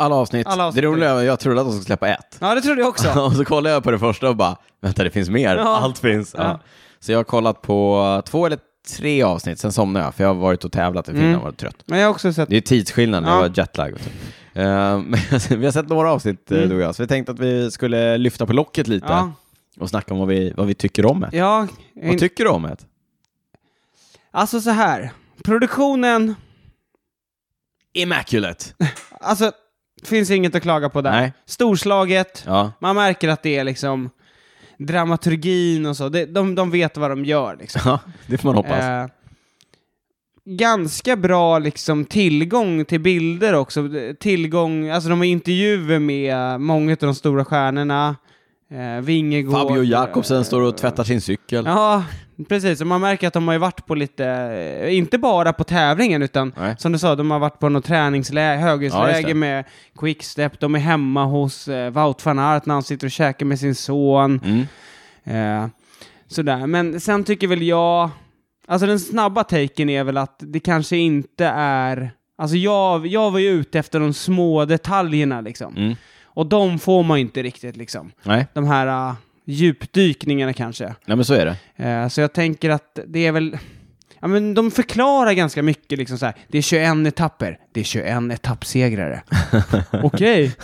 Alla avsnitt.
Alla avsnitt.
Det roliga är att jag trodde att de skulle släppa ett.
Ja det trodde jag också.
och så kollade jag på det första och bara, vänta det finns mer,
Ja.
allt finns. Ja.
Ja.
Så jag har kollat på två eller tre avsnitt, sen somnade jag, för jag har varit och tävlat i Finland
Mm.
och varit trött.
Men jag har också sett
Det är tidsskillnad, det
Ja.
var jetlag. Och så. Eh, men vi har sett några avsnitt, eh, du och jag, så vi tänkte att vi skulle lyfta på locket lite
Mm. Ja.
och snacka om vad vi, vad vi tycker om det.
Ja, in...
Vad tycker du om det?
alltså så här. Produktionen,
Immaculate!
alltså finns inget att klaga på där.
Nej.
Storslaget,
Ja.
man märker att det är liksom dramaturgin och så. Det, de, de vet vad de gör liksom.
ja, det får man hoppas.
Eh, ganska bra liksom tillgång till bilder också. Eh, Tillgång, alltså de har intervjuer med många av de stora stjärnorna. Eh, Vingegård.
Fabio
eh,
Jakobsen står och tvättar sin cykel.
Ja, precis. Och man märker att de har ju varit på lite, eh, inte bara på tävlingen, utan
Nej.
som du sa, de har varit på något träningsläger,
Ja, just
höghusläger
det.
med quickstep, de är hemma hos eh, Wout van Aert när han sitter och käkar med sin son.
Mm.
Eh, sådär. Men sen tycker väl jag, alltså den snabba taken är väl att det kanske inte är, alltså jag, jag var ju ute efter de små detaljerna liksom.
Mm.
Och de får man ju inte riktigt liksom.
Nej.
De här eh, djupdykningarna kanske.
Nej, men så är det.
Eh, Så jag tänker att det är väl... Ja, men de förklarar ganska mycket. Liksom så här, det är 21 etapper. Det är 21 etappsegrare. Okej.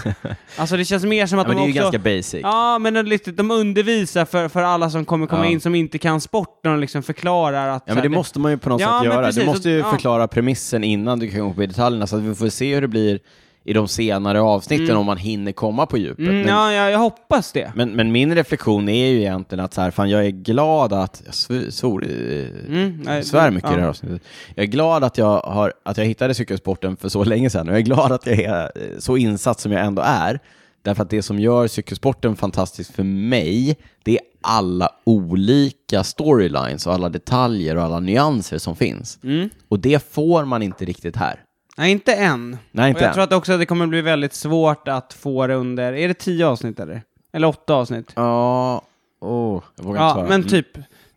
Alltså det känns mer som
Ja,
att
men
de
det är ju
också...
ganska basic.
Ja, men det är lite, de undervisar för, för alla som kommer komma
Ja.
in som inte kan sporten och liksom förklarar att...
Ja,
så
men
här,
det måste man ju på något
Ja,
sätt
men
göra.
precis.
du måste ju
Ja.
förklara premissen innan du kan gå på i detaljerna, så att vi får se hur det blir i de senare avsnitten om man hinner komma på djupet.
Mm,
Men-
ja, jag, jag hoppas det.
Men, men min reflektion är ju egentligen att så här, fan, jag är glad att... Jag svor, svor, eh,
Mm, nej,
svär mycket
ja.
i det här avsnittet. Jag är glad att jag, har, att jag hittade cykelsporten för så länge sedan och jag är glad att jag är eh, så insatt som jag ändå är. Därför att det som gör cykelsporten fantastisk för mig, det är alla olika storylines och alla detaljer och alla nyanser som finns.
Mm.
Och det får man inte riktigt här.
Nej, inte än.
Nej, inte
och jag
än.
tror att också att det kommer bli väldigt svårt att få det under... Är det 10 avsnitt eller? Eller 8 avsnitt?
Ja, åh, jag vågar inte
Ja,
svara. Mm.
men typ,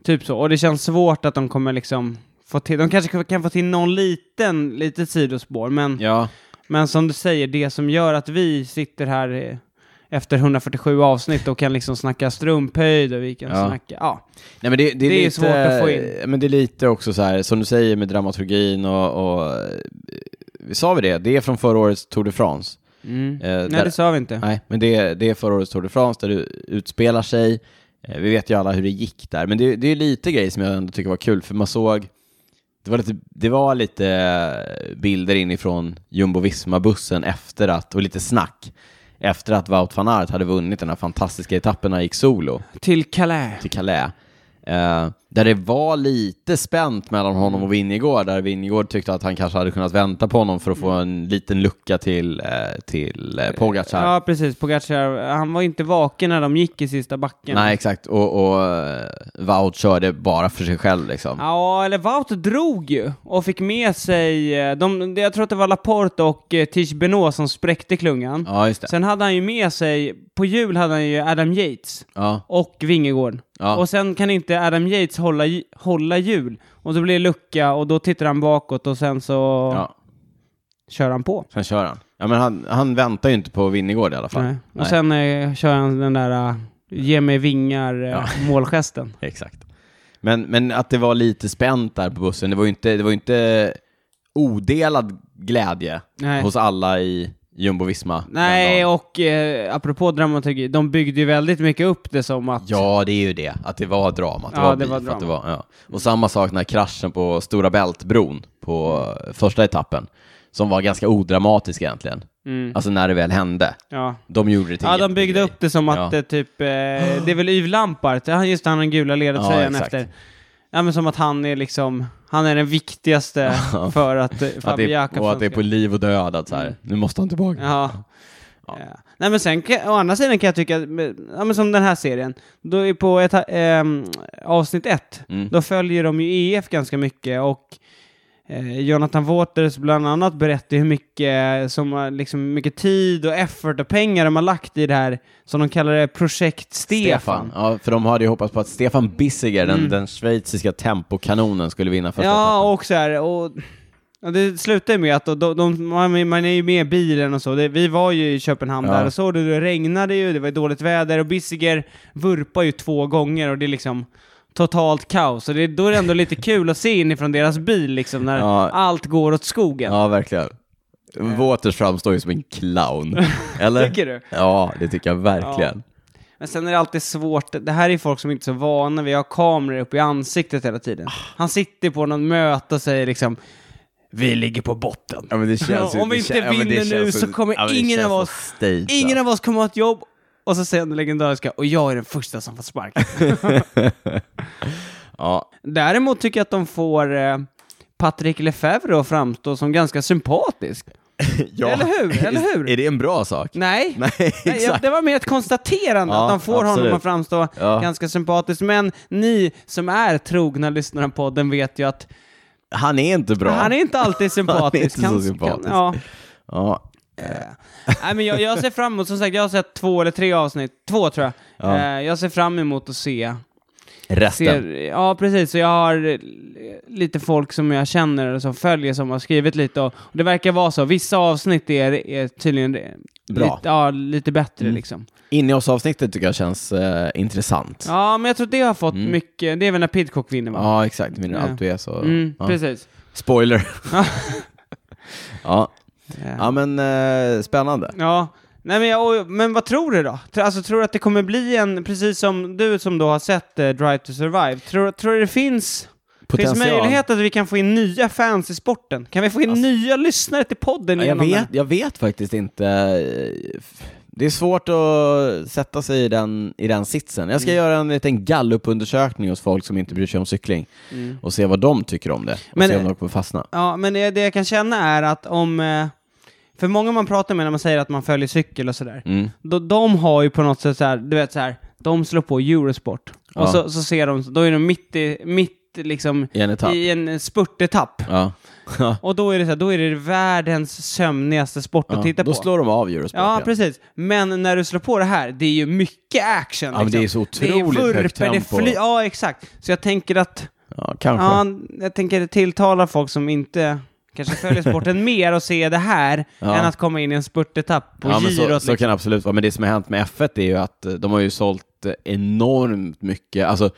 typ så. Och det känns svårt att de kommer liksom få till, de kanske kan få till någon liten, litet sidospår, men,
Ja,
men som du säger, det som gör att vi sitter här eh, efter 147 avsnitt och kan liksom snacka strumphöjd och vi kan
Ja.
snacka, ja.
Nej, men det, det, är
Det är
lite, eh,
svårt att få in.
Men det är lite också så här, som du säger med dramaturgin och, och eh, vi sa vi det, det är från förra årets Tour de France.
Mm.
Eh,
Nej,
där-
det sa vi inte.
Nej, men det, det är förra årets Tour de France där det utspelar sig. Eh, Vi vet ju alla hur det gick där, men det, det är lite grejer som jag ändå tycker var kul, för man såg det var, lite, det var lite eh, bilder inifrån Jumbo-Visma-bussen efter att, och lite snack, efter att Wout van Aert hade vunnit den här fantastiska etappen när han gick solo
Till Calais.
till Calais. Eh, där det var lite spänt mellan honom och Vingegård, där Vingegård tyckte att han kanske hade kunnat vänta på honom för att få en liten lucka till, eh, till eh, Pogacar.
Ja, precis. Pogacar, han var inte vaken när de gick i sista backen.
Nej, exakt. Och, och eh, Wout körde bara för sig själv liksom.
Ja, eller Wout drog ju och fick med sig, eh, de, jag tror att det var Laporte och eh, Tish Benoit som spräckte klungan.
Ja, just det.
Sen hade han ju med sig, på jul hade han ju Adam Yates
Ja,
och Vingegård.
ja.
Och sen kan inte Adam Yates hålla, ju- hålla hjul. Och då blir det lucka och då tittar han bakåt och sen så
ja.
kör han på.
Sen kör han. Ja, men han, han väntar ju inte på Vingegård i alla fall.
Nej. Och sen eh, kör han den där eh, ge mig vingar eh,
Ja.
målgesten.
Exakt. Men, men att det var lite spänt där på bussen, det var ju inte, det var ju inte odelad glädje
Nej.
hos alla i, Jumbo-Visma. den
Nej,
dagen.
och eh, apropå dramaturgi, de byggde ju väldigt mycket upp det som att...
Ja, det är ju det. Att det var drama. Att det
Ja,
var
det
beef,
var
Att det
drama.
var, ja. Och samma sak när kraschen på Stora Bältbron på eh, första etappen, som var ganska odramatisk egentligen.
Mm,
Alltså när det väl hände.
ja.
De gjorde det till
Ja,
en
de byggde
grej.
upp det som att
Ja.
eh, typ, eh, det är väl Yves Lampart, ja, just det, han har den gula ledartröjan
Ja, exakt.
efter. Ja, men som att han är liksom, han är den viktigaste för att eh,
att
Fabio
det är, Och att
Jakobsson
det är
ska-
på liv och död att så här, nu måste han tillbaka.
Ja. Ja. Nej men sen, kan- å andra sidan kan jag tycka, att, men- ja, men som den här serien, då är på ett, ehm, avsnitt ett,
Mm.
då följer de ju EF ganska mycket och eh, Jonathan Waters bland annat berättar hur mycket, som, har- liksom, mycket tid och effort och pengar de har lagt i det här, som de kallar det, projekt Stefan. Mm.
Ja, för de hade ju hoppats på att Stefan Bissiger, den, den schweiziska tempokanonen, skulle vinna första etappen.
Ja, och så här, och, och det slutar ju med att de, de, man, man är ju med i bilen och så. Det, vi var ju i Köpenhamn
Ja.
där och så det, det regnade ju, det var dåligt väder och Bissiger vurpar ju två gånger och det är liksom totalt kaos. Och det, då är det ändå lite kul att se inifrån deras bil liksom när
Ja.
allt går åt skogen.
Ja, Eh. verkligen. Waters framstår ju som en clown. Eller?
Tycker du?
Ja, det tycker jag verkligen.
Men sen är det alltid svårt, det här är folk som inte är så vana vid att ha kameror uppe i ansiktet hela
Ah.
tiden. Han sitter på något möte och säger liksom vi ligger på botten.
Ja, men det
Ja, om vi
det
inte
kän- ja, men det
vinner nu
känns
så kommer
ja, men det
ingen
känns
av
så
oss-
stageat.
Ingen av oss kommer ha ett jobb. Och så säger han det legendariska, och jag är den första som får sparken.
Ja,
Däremot tycker jag att de får eh, Patrick Lefebvre att framstå som ganska sympatisk.
ja.
Eller hur? Eller hur?
Är det en bra sak?
Nej,
Nej,
Nej, jag-
exakt.
det var mer ett konstaterande
Ja,
att de får honom
absolut.
att framstå
Ja.
ganska sympatisk. Men ni som är trogna lyssnare av podden vet ju att
Han är inte bra.
han är inte alltid sympatisk.
inte så
Kan-
sympatisk.
Kan, ja. Eh,
Ja,
Nej, men jag, jag ser fram emot, som sagt, jag har sett två eller tre avsnitt. Två tror jag.
Ja.
Eh, jag ser fram emot att se
resten.
Ser, ja, precis. Så jag har eh, lite folk som jag känner och som följer som har skrivit lite. Och, och det verkar vara så. Vissa avsnitt är, är tydligen eh,
Bra. Mm.
Lite, ja, lite bättre liksom.
Inne i oss-avsnittet tycker jag känns eh, intressant. Ja.
Ja, men jag tror det har fått mycket. Det är väl när Pidcock vinner va?
exakt. Men
Ja.
allt du är så...
Mm,
Mm. ja.
Precis.
Spoiler. ja.
Ja.
ja, men eh, spännande.
ja. Nej, men, jag, och- men vad tror du då? Tror- Alltså, tror du att det kommer bli en, precis som du som då har sett eh, Drive to Survive, tror, tror du det finns, finns
Potential.
möjlighet att vi kan få in nya fans i sporten? Kan vi få in nya lyssnare till podden?
Alltså- Ja, jag,
genom det?
vet, jag vet faktiskt inte. Det är svårt att sätta sig i den, i den sitsen. Jag ska
Mm.
göra en liten gallupundersökning hos folk som inte bryr sig om cykling och se vad de tycker om det. Och
Mm. Men-
se om de kommer fastna.
Ja, men det, det jag kan känna är att om... eh, För många man pratar med när man säger att man följer cykel och sådär,
Mm.
då, de har ju på något sätt så här, du vet så här, de slår på Eurosport. Och
Ja.
så, så ser de, då är de mitt i, mitt liksom,
I en etapp.
i en spurtetapp.
Ja. Ja.
Och då är det så här, då är det världens sömnigaste sport att titta
Då
på.
slår de av Eurosport
Ja,
igen.
precis. Men när du slår på det här, det är ju mycket action. liksom.
Ja, men det är så otroligt
vurper,
högt tempo.
Det fly- ja, exakt. Så jag tänker att
Ja, kanske.
Ja, jag tänker det tilltalar folk som inte kanske följer sporten mer och ser det här
Ja.
än att komma in i en spurtetapp på
ja, men
girot.
så, så
liksom.
kan det absolut vara. Men det som har hänt med F1 är ju att eh, de har ju sålt eh, enormt mycket. Alltså, eh,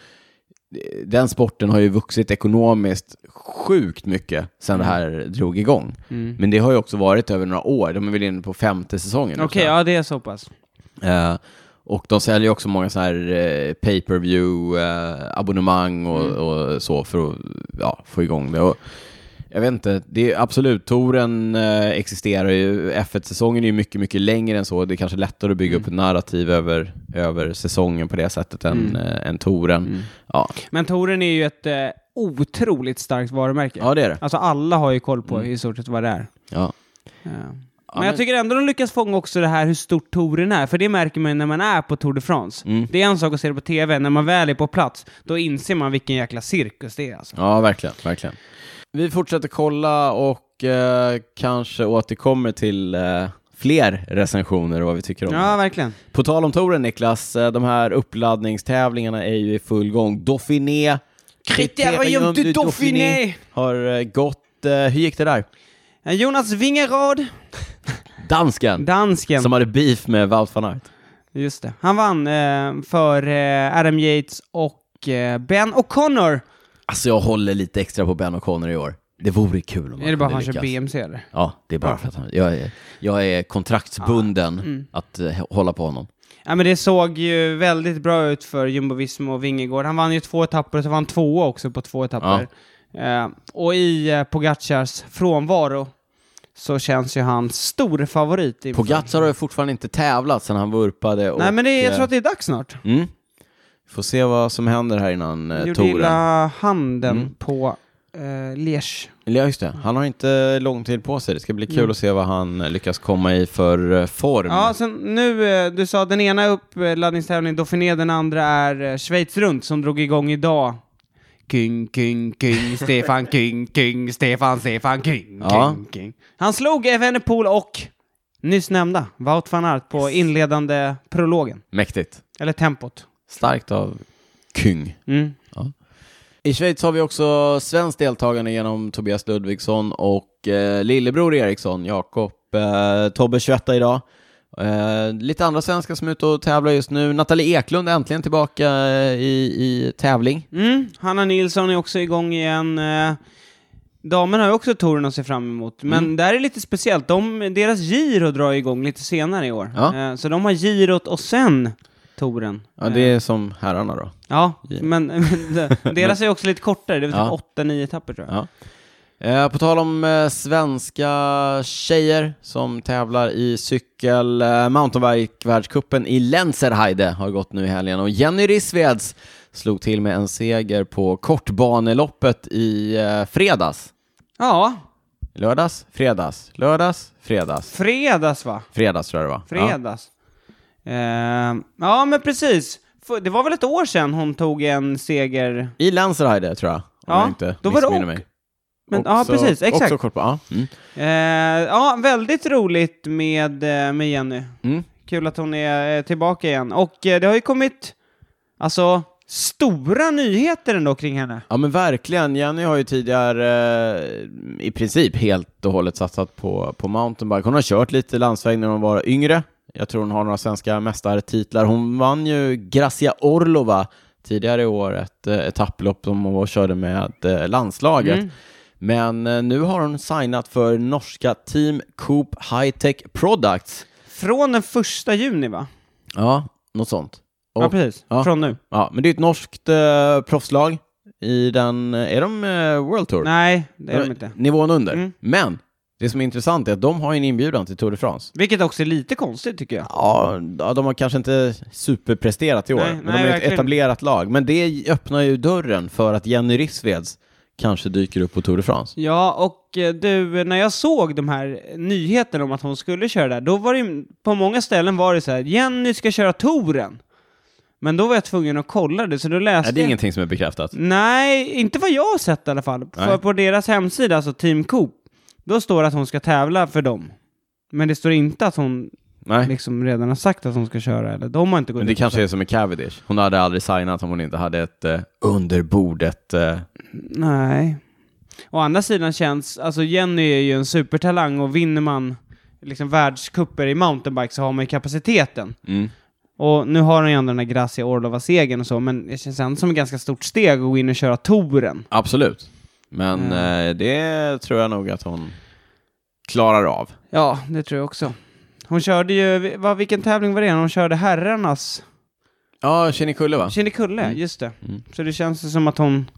den sporten har ju vuxit ekonomiskt sjukt mycket sedan
Mm.
det här drog igång. Men det har ju också varit över några år. De är väl inne på femte säsongen. nu,
Okej,
tror jag.
ja det är så pass.
Eh, och de säljer ju också många så här eh, pay-per-view eh, abonnemang och, och så för att ja, få igång det. Och, jag vet inte, det är absolut, touren eh, existerar ju, F1-säsongen är ju mycket, mycket längre än så, det är kanske lättare att bygga upp ett narrativ över, över säsongen på det sättet än, eh, än touren. Ja.
Men touren är ju ett eh, otroligt starkt varumärke.
ja, det är det.
Alltså alla har ju koll på i stort sett vad det är.
Ja.
Ja. Men,
men-
jag tycker ändå de lyckas fånga också det här hur stort touren är, för det märker man ju när man är på Tour de France.
Mm.
Det är en sak att se det på TV, när man väl är på plats, då inser man vilken jäkla cirkus det är alltså.
Ja, verkligen, verkligen. Vi fortsätter kolla och eh, kanske återkommer till eh, fler recensioner och vad vi tycker om
Ja, verkligen.
På tal om touren Niklas, eh, de här uppladdningstävlingarna är ju i full gång. Dauphiné,
Criterium du Dauphiné!
har eh, gått. Eh, Hur gick det där?
Eh, Jonas Vingerad,
Dansken,
dansken.
som hade beef med Wout van Aert.
Just det. Han vann eh, för eh, Adam Yates och eh, Ben O'Connor.
Alltså jag håller lite extra på Ben O'Connor i år. Det vore kul om man
Är det bara
kunde
han
lyckas.
kör BMC eller?
Ja, det är bara för att han, jag, är, jag är kontraktsbunden
Mm.
att eh, hålla på honom.
Ja, men det såg ju väldigt bra ut för Jumbo Visma och Vingegård. Han vann ju två etapper och så var han tvåa också på två etapper. Eh, och i eh, Pogacars frånvaro så känns ju han stor favorit. inför-
Pogacar har ju fortfarande inte tävlat sedan han vurpade. Och,
Nej, men det, är- jag tror att
eh,
det är dags snart.
mm. Får se vad som händer här innan
Han
eh,
gjorde
touren.
illa handen på eh, Liège.
Ja, just det. Han har inte lång tid på sig. Det ska bli kul att se vad han eh, lyckas komma i för eh, form.
Ja, sen nu, eh, du sa den ena är uppladdningstävlingen Dauphiné, den andra är eh, Schweiz runt som drog igång idag. King, king, king, Stefan King, king, Stefan, Stefan King,
Ja.
king, king. Han slog Evenepoel och nyss nämnda Wout van Aert på inledande prologen,
Mäktigt.
eller tempot.
Starkt av Kung.
Mm.
I Schweiz har vi också svenskt deltagande genom Tobias Ludvigsson och eh, lillebror Eriksson, Jakob. Eh, Tobbe 21 idag. Eh, lite andra svenskar som är ute och tävlar just nu. Nathalie Eklund är äntligen tillbaka eh, i, i tävling.
Mm. Hanna Nilsson är också igång igen. eh, Damerna har ju också touren att se fram emot, men
Mm.
där är lite speciellt. De, deras giro drar igång lite senare i år.
Ja.
Eh, Så de har girot och sen touren.
Ja, det är som herrarna då.
Ja, men, men de- deras är också lite kortare, det är väl
Ja.
typ åtta, nio etapper tror jag.
Ja. Eh, på tal om eh, svenska tjejer som tävlar i cykel, eh, mountainbike-världscupen i Lenzerheide har gått nu i helgen och Jenny Rissveds slog till med en seger på kortbaneloppet i eh, fredags.
Ja,
Lördags, fredags, lördags, fredags.
fredags va?
Fredags tror jag det var. Ja.
Fredags. Ja, ja men precis. För- Det var väl ett år sedan hon tog en seger?
I Lenzerheide tror jag, om
Ja,
jag inte
då var det
missminner
och-
mig.
Men, ja,
Också-
precis, exakt.
Också kortban. Ja. Mm.
Eh, ja, väldigt roligt med, eh, med Jenny.
Mm.
Kul att hon är eh, tillbaka igen. Och eh, det har ju kommit, alltså, stora nyheter ändå kring henne.
Ja men verkligen, Jenny har ju tidigare eh, i princip helt och hållet satsat på, på mountainbike. Hon har kört lite landsväg när hon var yngre. Jag tror hon har några svenska mästartitlar. Hon vann ju Gracia Orlova tidigare i år, ett eh, etapplopp som hon var- körde med eh, landslaget. Men eh, nu har hon signat för norska Team Coop High Tech Products.
Från den första juni, va?
Ja, något sånt.
ja,
Och-
precis.
ja.
Från nu.
ja, men det är ett norskt eh, proffslag i den, är de eh, World Tour?
Nej, det är de inte.
Nivån under.
Mm.
Men det som är intressant är att de har ju en inbjudan till Tour de France.
Vilket också är lite konstigt, tycker jag.
Ja, ja, de har kanske inte superpresterat i år,
Nej,
men
nej,
de är ett
verkligen.
etablerat lag. Men det öppnar ju dörren för att Jenny Rissveds kanske dyker upp på Tour de France.
Ja, och eh, du, när jag såg de här nyheterna om att hon skulle köra där, då var det ju- på många ställen var det så här, Jenny ska köra touren. Men då var jag tvungen att kolla det, så då läste
Nej, det är
jag-
ingenting som är bekräftat.
Nej, inte vad jag har sett i alla fall. För på deras hemsida, alltså Team Coop, då står det att hon ska tävla för dem. Men det står inte att hon
Nej.
liksom redan har sagt att hon ska köra, eller de har inte gått
Men det
ut och
kanske
sagt-
är som med Cavendish. Hon hade aldrig signat om hon inte hade ett eh, underbordet... Eh,
Nej. Å andra sidan känns, alltså Jenny är ju en supertalang och vinner man liksom världskupper i mountainbike så har man ju kapaciteten.
mm.
Och nu har hon ju ändå den här Gracia Orlova-segern och så, men det känns ändå som ett ganska stort steg att gå in och köra touren.
Absolut. Men eh, det tror jag nog att hon klarar av.
Ja, det tror jag också. Hon körde ju, vad, vilken tävling var det? Hon körde herrarnas
Ja, Kinnekulle va?
Kinnekulle,
Mm.
just det. Så det känns ju som att hon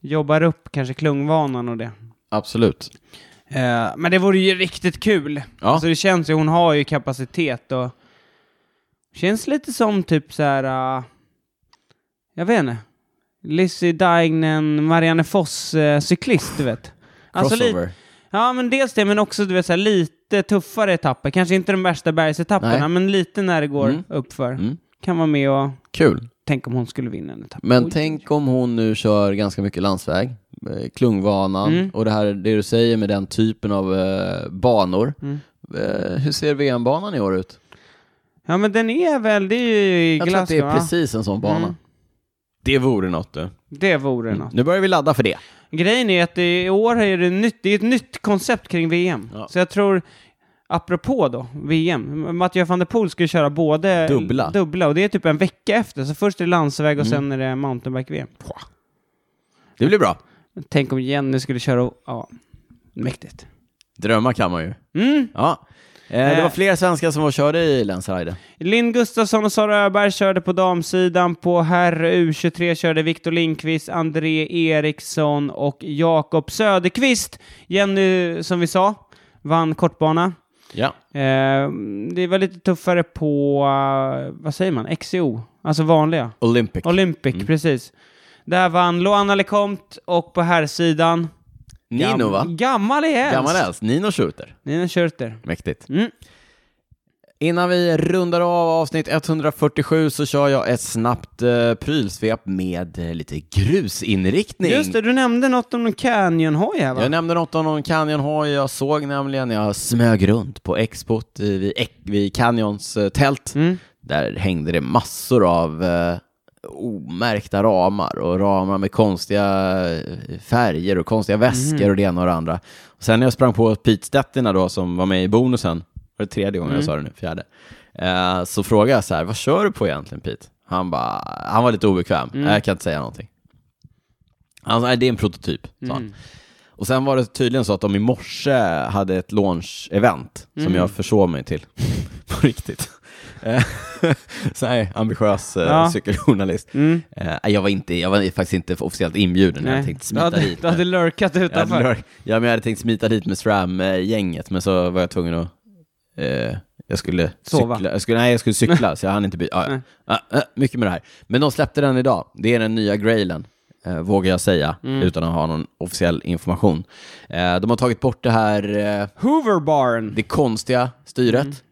jobbar upp kanske klungvanan och det.
Absolut.
Eh, men det vore ju riktigt kul.
Ja.
Alltså det känns ju, hon har ju kapacitet och känns lite som typ så här. eh, jag vet inte, Lizzie Deignen, Marianne Foss eh, cyklist, du vet. Alltså lite,
Crossover.
ja men dels det, men också du vet så här, lite tuffare etapper, kanske inte de värsta bergsetapperna,
Nej.
men lite när det går
Mm.
uppför.
Mm.
Kan vara med och
Kul.
tänk om hon skulle vinna en etapp.
Men
Oj.
tänk om hon nu kör ganska mycket landsväg, eh, klungvanan
Mm.
och det här det du säger med den typen av eh, banor.
Mm.
Eh, hur ser VM-banan i år ut?
Ja men den är väl, det är ju i
Jag tror att det
Glasgow
är
va?
precis en sån bana.
Mm.
Det vore något du.
Det vore något.
Nu börjar vi ladda för det.
Grejen är att det, i år är det, nytt, det är ett nytt koncept kring VM.
Ja.
Så jag tror, apropå då, VM, Mathieu van der Poel ska ju köra både
Dubbla. Mm.
dubbla och det är typ en vecka efter. Så först är det landsväg och sen är det mountainbike-VM.
Det blir bra.
Tänk om Jenny skulle köra och, ja, mäktigt.
Drömmar kan man ju.
Mm.
Ja. Eh, det
Eh.
var fler svenskar som var och körde i Länsride.
Linn Gustafsson och Sara Öberg körde på damsidan. På herr U23 körde Viktor Lindqvist, André Eriksson och Jakob Söderqvist. Jenny, som vi sa, vann kortbana.
Ja.
Eh, det var lite tuffare på, eh, vad säger man, XCO? Alltså vanliga.
Olympic.
Olympic,
Mm.
precis. Där vann Loana Lecompte och på herrsidan...
Nino
gam-
va?
Gammal i häls.
Gammal helst. Nino Schurter.
Nina Schurter.
Mäktigt.
Mm.
Innan vi rundar av avsnitt 147 så kör jag ett snabbt eh, prylsvep med eh, lite grusinriktning.
Just det, du nämnde något om en canyon-hoj här va?
Jag nämnde något om någon Canyon-hoj. Jag såg nämligen, jag smög runt på expot i- vid, Ex- vid Canyons eh, tält.
Mm.
Där hängde det massor av eh, omärkta ramar och ramar med konstiga eh, färger och konstiga väskor
Mhm.
och det ena och det andra. Och sen när jag sprang på Pete Stettina då som var med i bonusen, var det tredje gången jag
Mm.
sa det nu, fjärde, eh, så frågade jag så här, vad kör du på egentligen Pete? Han, bara, han var lite obekväm,
Mm.
"Nej, jag kan inte säga någonting. Han sa, "Nej, det är en prototyp,
Mm.
sa han. Och sen var det tydligen så att de i morse hade ett launch-event
Mm.
som jag försov mig till. På riktigt. Eh, så här ambitiös eh,
Ja.
cykeljournalist.
Mm.
Eh, jag, var inte, jag var faktiskt inte officiellt inbjuden, jag hade tänkt
du,
smita
hade,
dit.
du hade
med-
lurkat
jag, hade,
utanför.
lör- ja, men jag hade tänkt smita dit med SRAM-gänget, men så var jag tvungen att... Eh, jag skulle
Sova.
cykla, jag skulle, nej jag skulle cykla så jag hann inte byta. Ah, ja.
Nej.
ah, ah, mycket med det här. Men de släppte den idag. Det är den nya grailen, eh, vågar jag säga,
Mm.
utan att ha någon officiell information. Eh, de har tagit bort det här, eh,
Hooverbarn.
det konstiga styret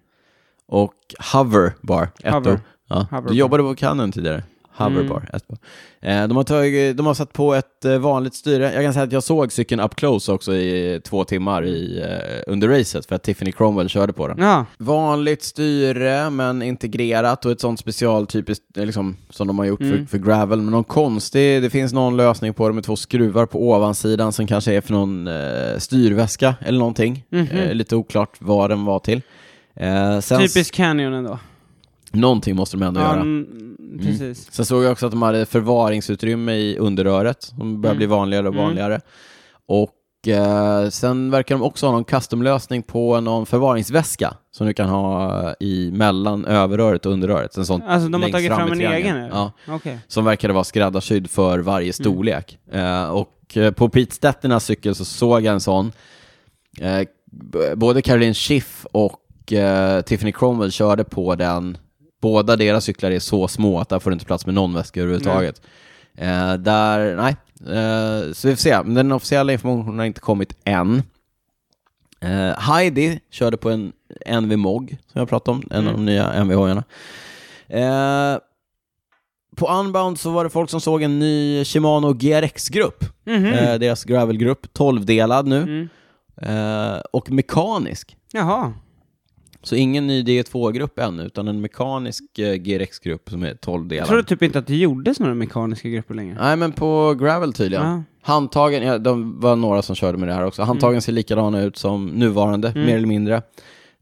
och hoverbar, ett
Hover. Mm.
ord. Ja.
Hoverbar.
Du jobbade på Canon tidigare. Hoverbar, ett ord. Eh, de, har tagit, de har satt på ett eh, vanligt styre. Jag kan säga att jag såg cykeln up close också i eh, två timmar i, eh, under racet för att Tiffany Cromwell körde på den.
Ja.
Vanligt styre, men integrerat och ett sånt specialtypiskt, eh, liksom, som de har gjort för, för gravel. Men någon konstig, det finns någon lösning på det med två skruvar på ovansidan som kanske är för någon eh, styrväska eller någonting. Eh, lite oklart vad den var till. Eh, sen,
Typisk canyon ändå.
Någonting måste de ändå
Ja,
göra.
mm, precis.
Sen såg jag också att de hade förvaringsutrymme i underröret, som börjar
Mm.
bli vanligare och vanligare. Och eh, sen verkar de också ha någon customlösning på någon förvaringsväska som du kan ha eh, i mellan överröret och underröret. En sån
Alltså de har
längst
tagit fram
i
en
triangeln.
egen nu?
Ja,
Okej.
som verkade vara skräddarsydd för varje storlek. Eh, och eh, på Pete Stettinas cykel så såg jag en sån. Eh, b- både Caroline Schiff och eh, Tiffany Cromwell körde på den. Båda deras cyklar är så små att där får du inte plats med någon väska överhuvudtaget. Eh, där, nej. Eh, så vi får se. Men Den officiella informationen har inte kommit än. Eh, Heidi körde på en NV Mog, som jag pratade om, en av
Mm.
de nya NV-hojarna. Eh, på Unbound så var det folk som såg en ny Shimano GRX-grupp.
Mhm. Mm.
Eh, deras gravelgrupp, 12-delad nu.
Mm.
Eh, och mekanisk.
Jaha.
Så ingen ny D2-grupp ännu, utan en mekanisk eh, GRX-grupp som är
Jag trodde
12-delad.
typ inte att det gjordes några mekaniska grupper längre.
Nej, men på gravel tydligen.
Ja.
Handtagen, ja, de var några som körde med det här också. Handtagen ser likadana ut som nuvarande, mer eller mindre.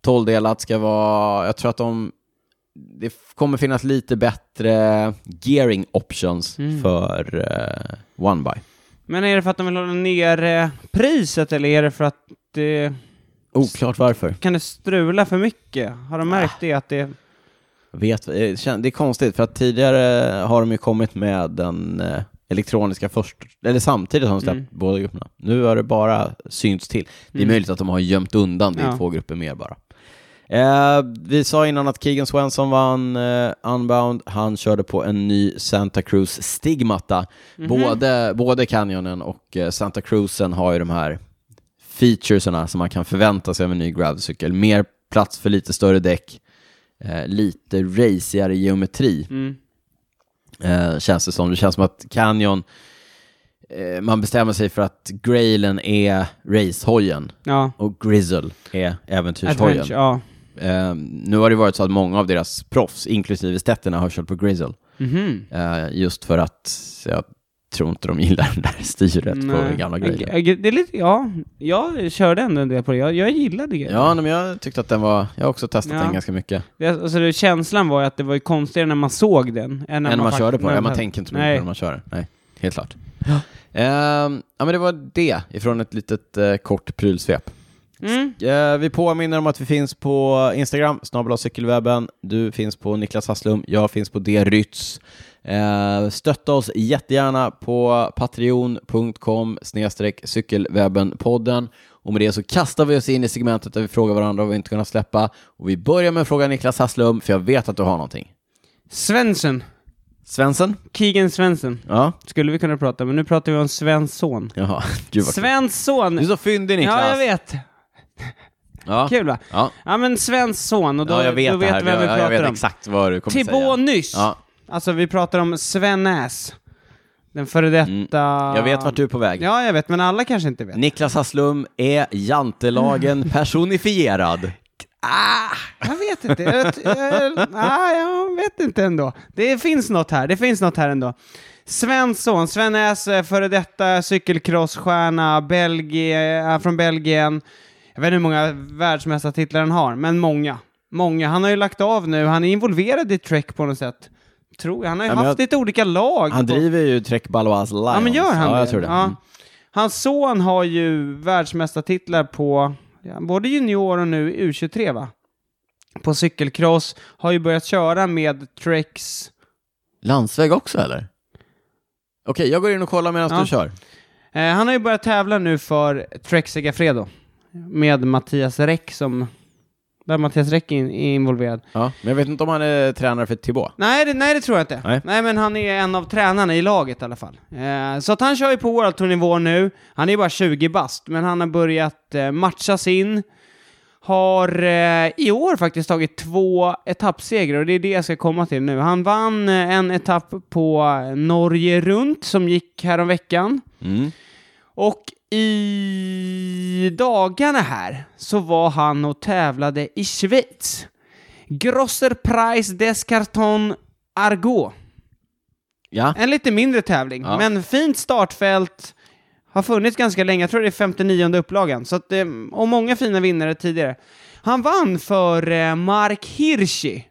12-delat ska vara, jag tror att de, det f- kommer finnas lite bättre gearing options för eh, one by.
Men är det för att de vill hålla ner eh, priset eller är det för att det...
Oklart varför.
Kan det strula för mycket? Har
Ah.
de märkt det att det...
Vet, eh, kän- det är konstigt, för att tidigare har de ju kommit med den eh, elektroniska först, eller samtidigt har de släppt båda grupperna. Nu har det bara synts till. Det är möjligt att de har gömt undan det i
Ja.
två grupper mer bara. Eh, vi sa innan att Keegan Swenson vann eh, Unbound. Han körde på en ny Santa Cruz Stigmata. Både, både Canyonen och eh, Santa Cruzen har ju de här featuresarna som man kan förvänta sig av en ny gravelcykel. Mer plats för lite större däck, eh, lite racigare geometri.
Mm.
Eh, känns det som. Det känns som att Canyon, eh, man bestämmer sig för att Grailen är racehojen
Ja.
och Grizzle är äventyrshojen.
Adventure, ja.
Eh, nu har det varit så att många av deras proffs, inklusive stetterna, har kört på Grizzle.
Mhm.
Eh, just för att jag tror inte de gillar det där styret
Nej.
på gamla
Ag-
Grailen.
ag- Det är lite, ja, jag körde ändå en del på det. Jag, jag gillade grejen.
Ja, nej, men jag tyckte att den var, jag har också testat
Ja.
den ganska mycket.
Det, alltså, det, känslan var ju att det var ju konstigare när man såg den. Än när
Än när man
fakt-
körde på
när
den, ja, man
hade-
tänker inte så mycket
Nej.
på när man kör den. Nej, helt klart. Ehm, ja, men det var det ifrån ett litet eh, kort prylsvep.
Mm.
Eh, vi påminner om att vi finns på Instagram, snabel cykelwebben. Du finns på Niklas Hasslum, jag finns på D. Rytz. Eh, stötta oss jättegärna på patreon.com cykelwebbenpodden. Och med det så kastar vi oss in i segmentet där vi frågar varandra om vi inte kunnat släppa. Och vi börjar med att fråga Niklas Hasslum, för jag vet att du har någonting.
Svensson.
Svensson?
Keegan Svensson.
Ja.
Skulle vi kunna prata, men nu pratar vi om Svensson.
Jaha, gud vad kul.
Svensson!
Du är så fyndig Niklas.
Ja, jag vet.
Ja.
Kul va?
Ja.
Ja, men Svensson, och då,
ja, jag vet
då
det
vet
här.
vem vi
jag, jag
pratar
vet
om.
exakt vad du kommer säga.
Thibaut nyss.
Ja.
Alltså, vi pratar om Svenäs. Den före detta...
Mm. Jag vet vart du är på väg.
Ja, jag vet, men alla kanske inte vet.
Niklas Hasslum är
Mm.
jantelagen personifierad.
Ah, jag vet inte. Jag, jag, ah, jag vet inte ändå. Det finns något här. Det finns något här ändå. Svensson, Sven S, eh, före detta cykelcrossstjärna, Belgien, eh, från Belgien. Jag vet inte hur många världsmästartitlar han har, men många. Många. Han har ju lagt av nu. Han är involverad i Trek på något sätt. Tror jag. Han har ju
Ja, men
haft
jag-
lite olika lag.
Han
på-
driver ju Trek Balois Lions.
Ja, men gör han
ja,
det?
jag tror det.
Ja.
Mm.
Hans son har ju världsmästartitlar på ja, både junior och nu U23, va? På cykelcross. Har ju börjat köra med Trex.
Landsväg också eller? Okej, jag går in och kollar medan
Ja.
du kör.
Eh, han har ju börjat tävla nu för Trex Segafredo. Med Mattias Räck som... Där Mattias Räck in, är involverad.
Ja. Men jag vet inte om han är tränare för Thibaut.
Nej det, nej, det tror jag inte.
Nej.
Nej. men han är en av tränarna i laget i alla fall. Eh, så att han kör ju på World Tour-nivå nu. Han är ju bara 20 bast, men han har börjat eh, matchas in. Har eh, i år faktiskt tagit två etappsegrar och det är det jag ska komma till nu. Han vann eh, en etapp på eh, Norge runt som gick häromveckan.
Mm.
Och i dagarna här så var han och tävlade i Schweiz. Grosser Preis des Carton Argo.
Ja.
En lite mindre tävling,
Ja.
men fint startfält. Har funnits ganska länge, jag tror det är 59 upplagan. Så att, eh, och många fina vinnare tidigare. Han vann för eh, Mark Hirschi.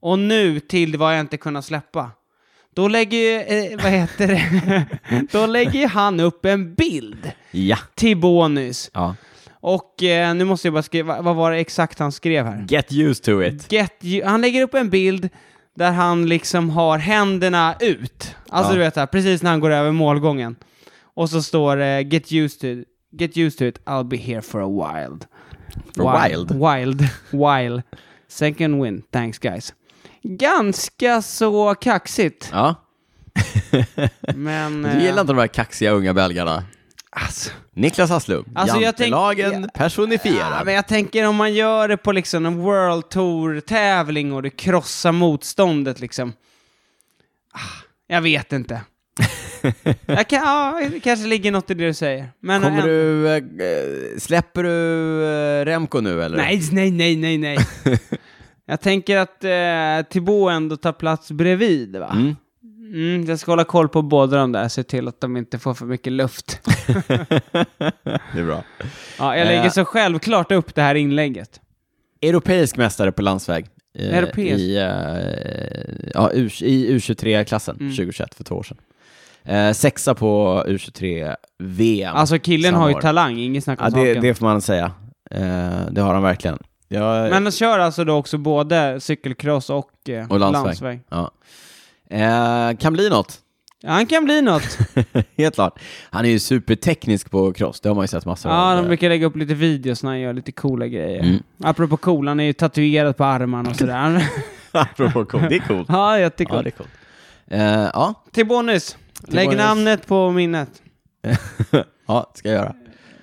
Och nu till vad jag inte kunnat släppa. Då lägger ju, eh, vad heter det? Då lägger ju han upp en bild
ja.
till Bonus.
ja.
Och eh, nu måste jag bara skriva, vad var det exakt han skrev här?
Get used to it.
Get you, han lägger upp en bild där han liksom har händerna ut. Alltså
Ja.
du vet, så här, precis när han går över målgången. Och så står det “Get used to it, get used to it, I'll be here for a while”.
For a while.
Wild. Wild. Second win, thanks guys. Ganska så kaxigt,
Ja.
men... eh,
Du gillar inte de här kaxiga unga belgarna?
alltså.
Niklas Hasslum,
Alltså, jag tänk-
jantelagen
Ja.
personifierad.
Ja, men jag tänker om man gör det på liksom en World Tour-tävling och du krossar motståndet liksom. Ah, Jag vet inte. jag kan, ja, det kanske ligger något i det du säger. Men
Kommer
en-
du, eh, eh, släpper du eh, Remco nu eller?
Nej, nej, nej, nej, nej. jag tänker att eh, Thibaut ändå tar plats bredvid, va?
Mm.
Mm, jag ska hålla koll på båda de där, se till att de inte får för mycket luft.
Det är bra.
ja, jag lägger
Eh.
så självklart upp det här inlägget.
Europeisk mästare på landsväg. eh,
Europeisk?
I, eh, ja, U, i U23-klassen
Mm.
2021, för två år sedan. Eh, sexa på U23-VM.
Alltså killen
samma
har ju
år.
talang, inget snack om
ja, det,
saken.
det får man säga. Eh, det har han verkligen. Jag,
Men de kör alltså då också både cykelcross och, eh,
och landsväg.
landsväg.
Ja. Eh, kan bli något,
Han kan bli något.
helt klart. Han är ju superteknisk på cross, det har man ju sett massor
ja,
av. eh,
de brukar lägga upp lite videos när han gör lite coola grejer.
Mm.
Apropå cool, han är ju tatuerad på armarna och sådär.
Apropå cool, det är coolt.
ja, jättecool.
Ja, det är coolt. Eh, ja,
Till bonus. Lägg
bonus.
namnet på minnet.
ja, det ska jag göra.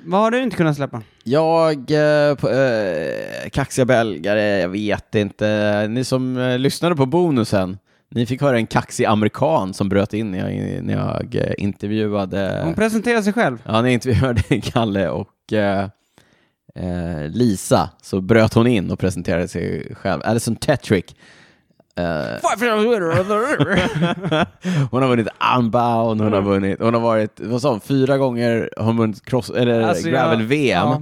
Vad har du inte kunnat släppa?
Jag, eh, på, eh, kaxiga belgare, jag vet inte. Ni som eh, lyssnade på bonusen, ni fick höra en kaxig amerikan som bröt in när jag, när jag eh, intervjuade...
Hon presenterar sig själv.
Ja, när jag intervjuade Kalle och eh, eh, Lisa så bröt hon in och presenterade sig själv. Alison Tetrick. Eh, hon har vunnit Unbound, hon har
Mm.
vunnit, hon har varit, vad sa hon, fyra gånger har hon vunnit cross, eller
Alltså, jag-
Gravel-VM.
ja.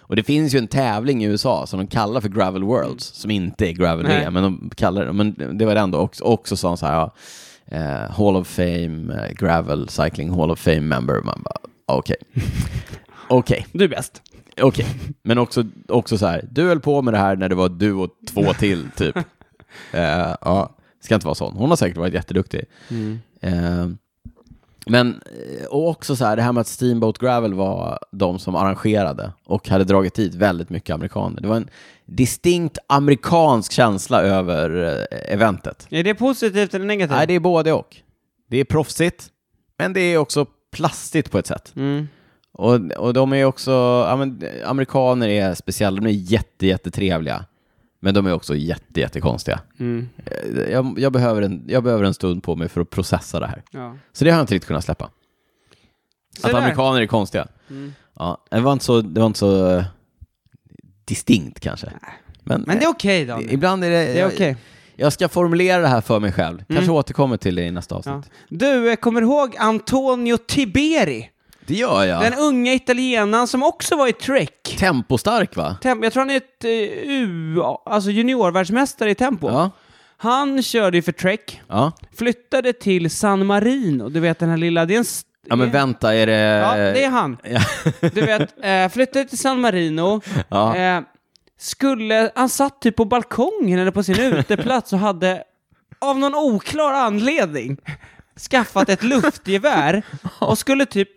Och det finns ju en tävling i USA som de kallar för
Mm.
Gravel Worlds, som inte är Gravel-VM, men de kallar det, men det var den då också. Och så sa hon så här, ja, eh, Hall of Fame, eh, Gravel Cycling Hall of Fame member. Man bara, okej. Okej,
Du är bäst.
okej. Men också, också så här, du höll på med det här när det var du och två till, typ. Eh, ja, ska inte vara sån. Hon har säkert varit jätteduktig.
Mm.
Eh, men, eh, och också så här, det här med att Steamboat Gravel var de som arrangerade och hade dragit dit väldigt mycket amerikaner. Det var en distinkt amerikansk känsla över eh, eventet.
Är det positivt eller negativt?
Nej, det är både och. Det är proffsigt, men det är också plastigt på ett sätt.
Mm.
Och, och de är också, ja, men, eh, amerikaner är speciella, de är jätte, jättetrevliga. Men de är också jätte, jättekonstiga.
Mm.
Eh, Jag, jag, behöver en, jag behöver en stund på mig för att processa det här.
Ja.
Så det har jag inte riktigt kunnat släppa.
Så
att
där.
amerikaner är konstiga.
Mm.
Ja, det var inte så, det var inte så eh, distinkt kanske. Men,
Men det är okej
eh,
Daniel.
ibland är det... eh,
Det är okej. Mm.
jag, jag ska formulera det här för mig själv. Kanske återkommer till det i nästa avsnitt.
Ja. Du, eh, kommer du ihåg Antonio Tiberi?
Det gör jag.
Den unga italienaren som också var i Trek.
Tempostark va?
Tem- jag tror han är ett eh, U, alltså juniorvärldsmästare i tempo.
Ja.
Han körde ju för Trek,
ja.
flyttade till San Marino, du vet den här lilla, det är en... s-
Ja men vänta, är det...
Ja, det är han.
Ja.
Du vet, eh, flyttade till San Marino,
Ja.
eh, skulle, han satt typ på balkongen eller på sin uteplats och hade av någon oklar anledning skaffat ett luftgevär och skulle typ,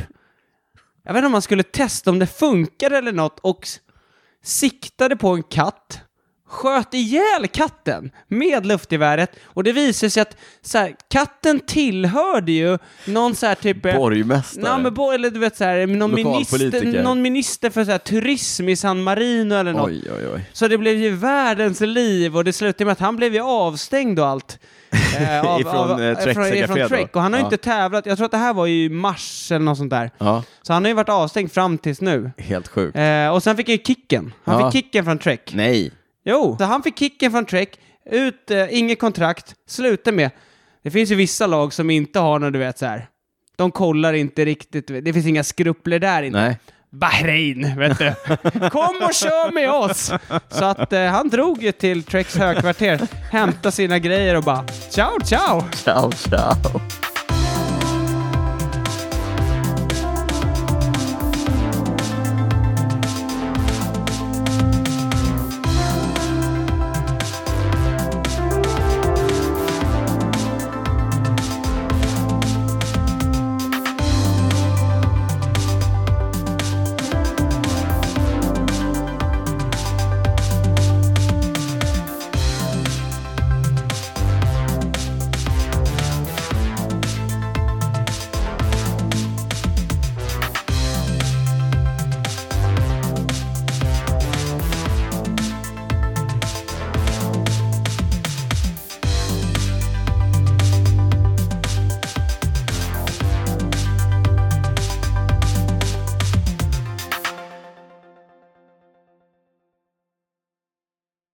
jag vet inte om han skulle testa om det funkar eller något och s- siktade på en katt, sköt ihjäl katten med luftgeväret och det visade sig att så här, katten tillhörde ju någon så här typ... eh,
Borgmästare.
Nej, men bo, eller du vet så här, någon, minister,
Lokalpolitiker.
någon minister för så här, turism i San Marino eller något.
Oj, oj, oj.
Så det blev ju världens liv och det slutade med att han blev ju avstängd och allt. Eh,
Ifrån, eh,
eh,
Trek
ifrån, ifrån
Segafredo.
Trek. Och han har ju
Ja.
inte tävlat, jag tror att det här var i mars eller något sånt där.
Ja,
Så han har ju varit avstängd fram tills nu.
helt sjukt.
Eh, och sen fick han ju kicken. Han
Ja.
fick kicken från Trek.
Nej.
Jo, så han fick kicken från Trek, ut, eh, inget kontrakt, sluta med. Det finns ju vissa lag som inte har något, du vet så här. De kollar inte riktigt, du vet. det finns inga skrupler där inte.
Nej.
Bahrain, vet du. Kom och kör med oss! Så att eh, han drog ju till Treks högkvarter, hämtade sina grejer och bara ciao, ciao!
Ciao, ciao.